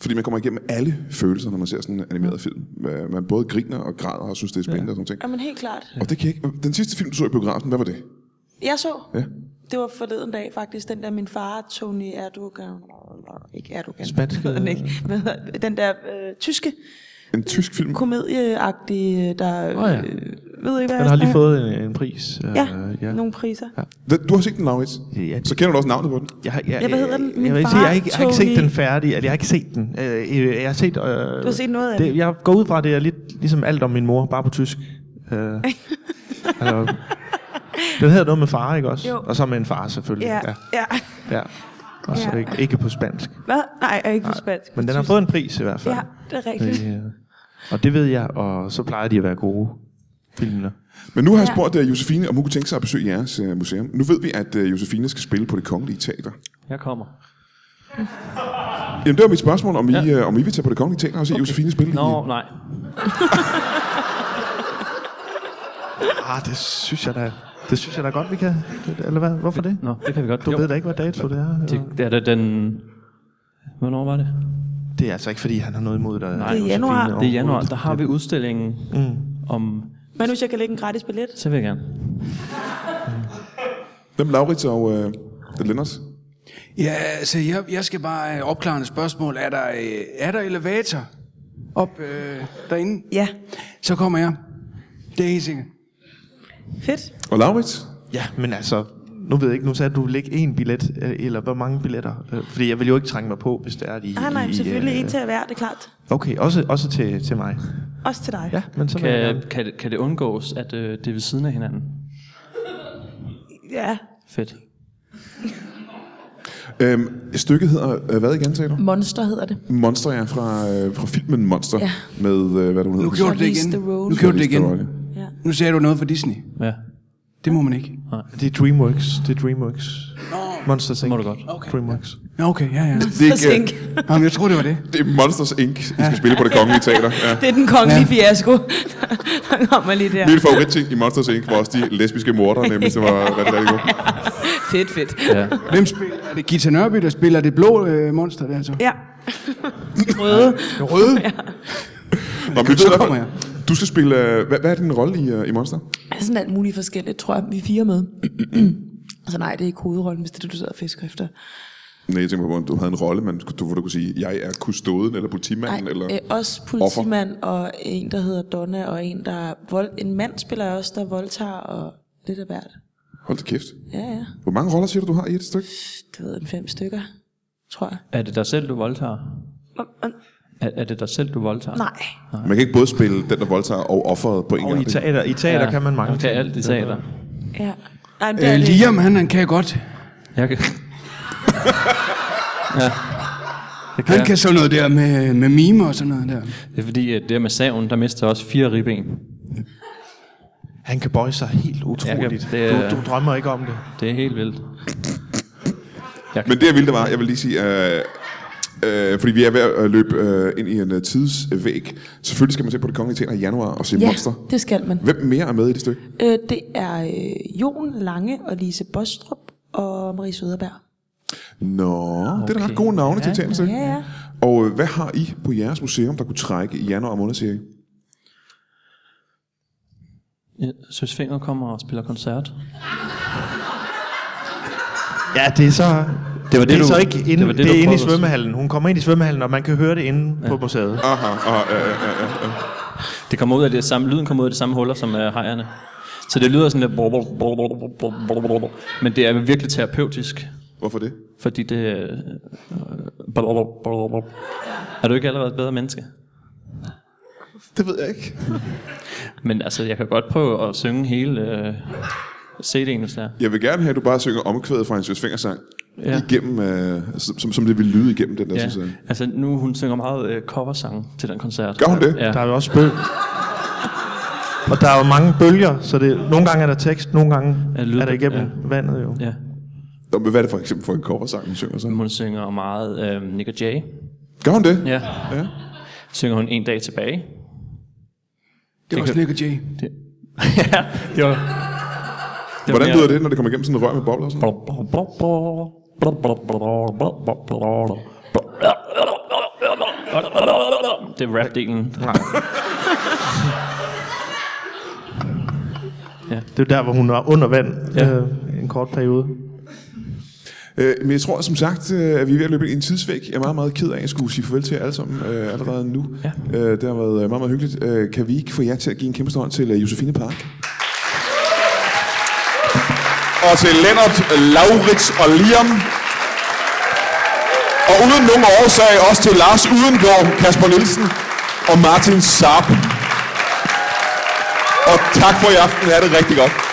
Speaker 2: Fordi man kommer igennem alle følelser, når man ser sådan en animeret
Speaker 3: Mm.
Speaker 2: film. Øh, Man både griner og græder og synes, det er spændende ja. og sådan ting.
Speaker 3: jamen helt klart.
Speaker 2: Og det kan jeg ikke... Den sidste film, du så i biografen, hvad var det?
Speaker 3: Jeg så.
Speaker 2: Ja.
Speaker 3: Det var forleden dag faktisk, den der min far, Tony Erdogan, ikke Erdogan,
Speaker 5: Spanske-
Speaker 3: hvad hedder den, ikke? Hvad hedder den? den der øh, tyske
Speaker 2: En tysk film.
Speaker 3: komedieagtige, der
Speaker 5: Åh, ja.
Speaker 3: øh, ved ikke hvad
Speaker 5: Den
Speaker 3: jeg
Speaker 5: har lige
Speaker 3: snakker-
Speaker 5: fået en, en pris. Øh,
Speaker 3: ja,
Speaker 5: ja.
Speaker 3: nogle priser. Ja.
Speaker 2: Den- Du har set den, Laurits.
Speaker 5: Ja.
Speaker 2: Så kender du også navnet på den.
Speaker 5: Jeg, har- jeg,
Speaker 3: Ja, hvad hedder den?
Speaker 5: jeg,
Speaker 3: Min
Speaker 5: jeg, vil
Speaker 3: far
Speaker 5: sige, jeg, har ikke, jeg har ikke set
Speaker 3: tog
Speaker 5: den
Speaker 3: i-
Speaker 5: færdig. eller Jeg har ikke set den. Øh, øh, jeg har set... Øh, du har
Speaker 3: set noget af
Speaker 5: det,
Speaker 3: den.
Speaker 5: Jeg går ud fra, at det er lidt ligesom alt om min mor, bare på tysk. Øh, altså, den hedder noget med far, ikke også?
Speaker 3: Jo.
Speaker 5: Og så med en far, selvfølgelig.
Speaker 3: Ja, ja.
Speaker 5: ja. Og så
Speaker 3: Ja.
Speaker 5: ikke, ikke på spansk.
Speaker 3: Hvad? Nej, jeg er ikke på spansk.
Speaker 5: Men den har fået en pris i hvert fald.
Speaker 3: Ja, det er rigtigt.
Speaker 5: Øh, og det ved jeg, og så plejer de at være gode filmene.
Speaker 2: Men nu har jeg
Speaker 3: Ja.
Speaker 2: spurgt uh, Josefine, om hun kunne tænke sig at besøge jeres uh, museum. Nu ved vi, at uh, Josefine skal spille på det kongelige teater.
Speaker 6: Jeg kommer.
Speaker 2: Jamen, det var mit spørgsmål, om I, ja. øh, om I vil tage på det kongelige teater og se okay. Josefine spille
Speaker 6: Nå,
Speaker 2: i...
Speaker 6: nej.
Speaker 5: Ah, det synes jeg da, det synes jeg da godt, vi kan. Eller hvad? Hvorfor det?
Speaker 6: Nå, det kan vi godt.
Speaker 5: Du
Speaker 6: Jo.
Speaker 5: ved da ikke, hvad dato det er? eller?
Speaker 6: Det, det er da den... Hvornår var det?
Speaker 5: Det er altså ikke, fordi han har noget imod dig.
Speaker 6: Nej. Det er
Speaker 5: Josefine,
Speaker 3: januar.
Speaker 5: overhovedet.
Speaker 6: Det er januar. Der har vi udstillingen mm. om...
Speaker 3: Men hvis jeg kan lægge en gratis billet?
Speaker 6: Så vil jeg gerne.
Speaker 2: Hvem Laurits og uh, Lennart?
Speaker 4: Ja, altså, jeg, jeg skal bare øh, opklare et spørgsmål. Er der, øh, er der elevator op øh, derinde?
Speaker 3: Ja.
Speaker 4: Så kommer jeg. Det er helt sikkert.
Speaker 3: Fedt.
Speaker 2: Og Laurits?
Speaker 5: Ja, men altså, nu ved jeg ikke, nu sagde du, at du vil lægge en billet, øh, eller hvor mange billetter? Øh, fordi jeg vil jo ikke trænge mig på, hvis det er, at I...
Speaker 3: Nej, Ah, nej,
Speaker 5: I,
Speaker 3: selvfølgelig
Speaker 5: øh,
Speaker 3: en til hver, det er klart.
Speaker 5: Okay, også, også til, til mig.
Speaker 3: Også til dig.
Speaker 5: Ja, men så vil jeg
Speaker 6: Kan,
Speaker 5: gerne.
Speaker 6: kan, det- kan det undgås, at øh, det er ved siden af hinanden?
Speaker 3: ja.
Speaker 6: Fedt.
Speaker 2: Øhm, stykket hedder, øh, hvad igen sagde du?
Speaker 3: Monster hedder det.
Speaker 2: Monster, ja, fra, øh, fra filmen Monster. Ja. Med, øh, hvad du hedder.
Speaker 4: Nu gjorde du det
Speaker 3: Charlize
Speaker 4: igen.
Speaker 3: Theron.
Speaker 4: Nu gjorde du det igen.
Speaker 2: Charlize
Speaker 3: Ja.
Speaker 4: Nu sagde du noget for Disney.
Speaker 6: Ja,
Speaker 4: Det må man ikke.
Speaker 5: Det er Dreamworks. Det er Dreamworks. Monsters Inc.
Speaker 6: må du godt.
Speaker 4: Okay.
Speaker 5: Dreamworks.
Speaker 4: Nå, okay, ja, ja.
Speaker 2: Det er, ikke,
Speaker 3: Forsinke.
Speaker 4: Jamen, jeg tror det var det.
Speaker 2: øh, det er Monsters Inc., I skal spille på det kongelige teater. Ja.
Speaker 3: Det er den kongelige ja. fiasko. Der kommer lige der.
Speaker 2: Min favoritting i Monsters Inc. var også de lesbiske mordere, nemlig, som var rigtig, rigtig gode.
Speaker 3: Fedt, fedt.
Speaker 6: Ja.
Speaker 4: Hvem spiller? Er det Gita Nørby, der spiller det blå øh, monster der så?
Speaker 3: Ja. Røde.
Speaker 4: Røde?
Speaker 2: Nå, men det
Speaker 4: Så kommer jeg.
Speaker 2: Du skal spille, øh, hvad, hvad er din rolle i, øh, i Monster?
Speaker 3: Er sådan alt muligt forskelligt, tror jeg, vi er fire med. altså nej, det er ikke hovedrollen, hvis det er det, du sidder og fisker efter.
Speaker 2: Nej, jeg tænker på, om du havde en rolle, men du, hvor du kunne sige, jeg er kustoden eller politimanden,
Speaker 3: Nej,
Speaker 2: eller...
Speaker 3: øh, også politimand offer. og en, der hedder Donna, og en, der vold, en mand spiller jeg også, der voldtager og lidt af hvert.
Speaker 2: Hold da kæft.
Speaker 3: Ja, ja.
Speaker 2: Hvor mange roller siger du, du har i et stykke?
Speaker 3: Det ved jeg, en fem stykker, tror jeg.
Speaker 6: Er det dig selv, du voldtager?
Speaker 3: Og- og-
Speaker 6: Er, er det dig selv, du voldtager?
Speaker 3: Nej.
Speaker 2: Man kan ikke både spille den, der voldtager, og offeret på en
Speaker 5: Og i
Speaker 2: gang. det-
Speaker 5: teater, i teater ja. kan man mange
Speaker 6: Man kan alt i teater.
Speaker 3: Ja. Nej, men det
Speaker 4: Øh,
Speaker 3: er det. ikke.
Speaker 4: Liam, han, han kan godt.
Speaker 6: Jeg kan... ja. Det kan,
Speaker 4: Han
Speaker 6: jeg.
Speaker 4: kan sådan noget der med, med mimer og sådan noget der.
Speaker 6: Det er fordi, at det her med saven, der mister jeg også fire ribben.
Speaker 5: Han kan bøje sig helt utroligt.
Speaker 6: det er-
Speaker 5: du, du drømmer ikke om det.
Speaker 6: Det er helt vildt.
Speaker 2: Men det jeg ville, det var, jeg vil lige sige, øh, øh, fordi vi er ved at løbe øh, ind i en øh, tidsvæg. Selvfølgelig skal man se på det kongelige teater i januar og se
Speaker 3: Ja,
Speaker 2: Monster.
Speaker 3: det skal man.
Speaker 2: Hvem mere er med i det stykke?
Speaker 3: Øh, det er øh, Jon Lange og Lise Bostrup og Marie Søderberg.
Speaker 2: Nå, okay. det er da ret gode navne ja, til et teaterstykke.
Speaker 3: Ja, ja.
Speaker 2: Og øh, hvad har I på jeres museum, der kunne trække i januar måned, siger I?
Speaker 6: Ja, Søs Finger kommer og spiller koncert.
Speaker 5: Ja, det er så...
Speaker 6: Det var det,
Speaker 5: det er
Speaker 6: du-
Speaker 5: så ikke
Speaker 6: det
Speaker 5: inde,
Speaker 6: var
Speaker 5: det
Speaker 6: det,
Speaker 5: det,
Speaker 6: du
Speaker 5: er inde i
Speaker 6: prøvede at-
Speaker 5: svømmehallen. Hun kommer ind i svømmehallen, og man kan høre det inde ja. på museet.
Speaker 2: Aha, aha, øh, øh, øh, øh.
Speaker 6: Det kommer ud af det samme, lyden kommer ud af det samme huller som øh, hejerne. Så det lyder sådan lidt... brr, brr, brr, brr, brr, brr, brr, brr. Men det er virkelig terapeutisk,
Speaker 2: Hvorfor det?
Speaker 6: fordi det... øh, øh, brr, brr, brr, brr. Er du ikke allerede et bedre menneske?
Speaker 2: Det ved jeg ikke.
Speaker 6: Men altså, jeg kan godt prøve at synge hele øh, CD'en, hvis det er.
Speaker 2: Jeg vil gerne have, at du bare synger omkvædet fra en Søs Fingersang. Ja.
Speaker 6: Ja.
Speaker 2: Igennem, øh, som, som det ville lyde igennem den der ja.
Speaker 6: Ja. Altså, nu hun synger meget øh, coversange til den koncert.
Speaker 2: Gør hun det?
Speaker 6: Ja.
Speaker 5: Der er jo også bøl. Og der er jo mange bølger, så det, nogle gange er der tekst, nogle gange
Speaker 6: Er
Speaker 5: er,
Speaker 6: lyd-
Speaker 5: er det igennem
Speaker 6: ja.
Speaker 5: ja. vandet jo.
Speaker 6: ja.
Speaker 2: Nå, men Hvad er det for eksempel for en coversang, hun synger så?
Speaker 6: Hun synger meget øh, Nick og Jay.
Speaker 2: Gør hun det?
Speaker 6: Mm. Ja.
Speaker 2: ja.
Speaker 6: Synger hun en dag tilbage.
Speaker 4: Det er også Nick og Jay.
Speaker 6: Det, ja, det var... Det
Speaker 2: Hvordan lyder det, når det kommer igennem sådan en rør med bobler og sådan?
Speaker 6: Det er rap-delen.
Speaker 5: Det er jo der, hvor hun er under vand
Speaker 6: Ja.
Speaker 5: ja. øh, en kort periode.
Speaker 2: Øh, men jeg tror som sagt, øh, at vi er ved at løbe ind i en tidsvæg. Jeg er meget, meget ked af, at jeg skulle sige farvel til jer alle sammen øh, allerede nu.
Speaker 6: Ja.
Speaker 2: Øh, det har været øh, meget, meget hyggeligt. Øh, kan vi ikke få jer til at give en kæmpe stor hånd til øh, Josefine Park? Og til Lennart, øh, Laurits og Liam. Og uden nogen årsag også til Lars Udengård, Kasper Nielsen og Martin Saab. Og tak for i aften. Ha' det rigtig godt.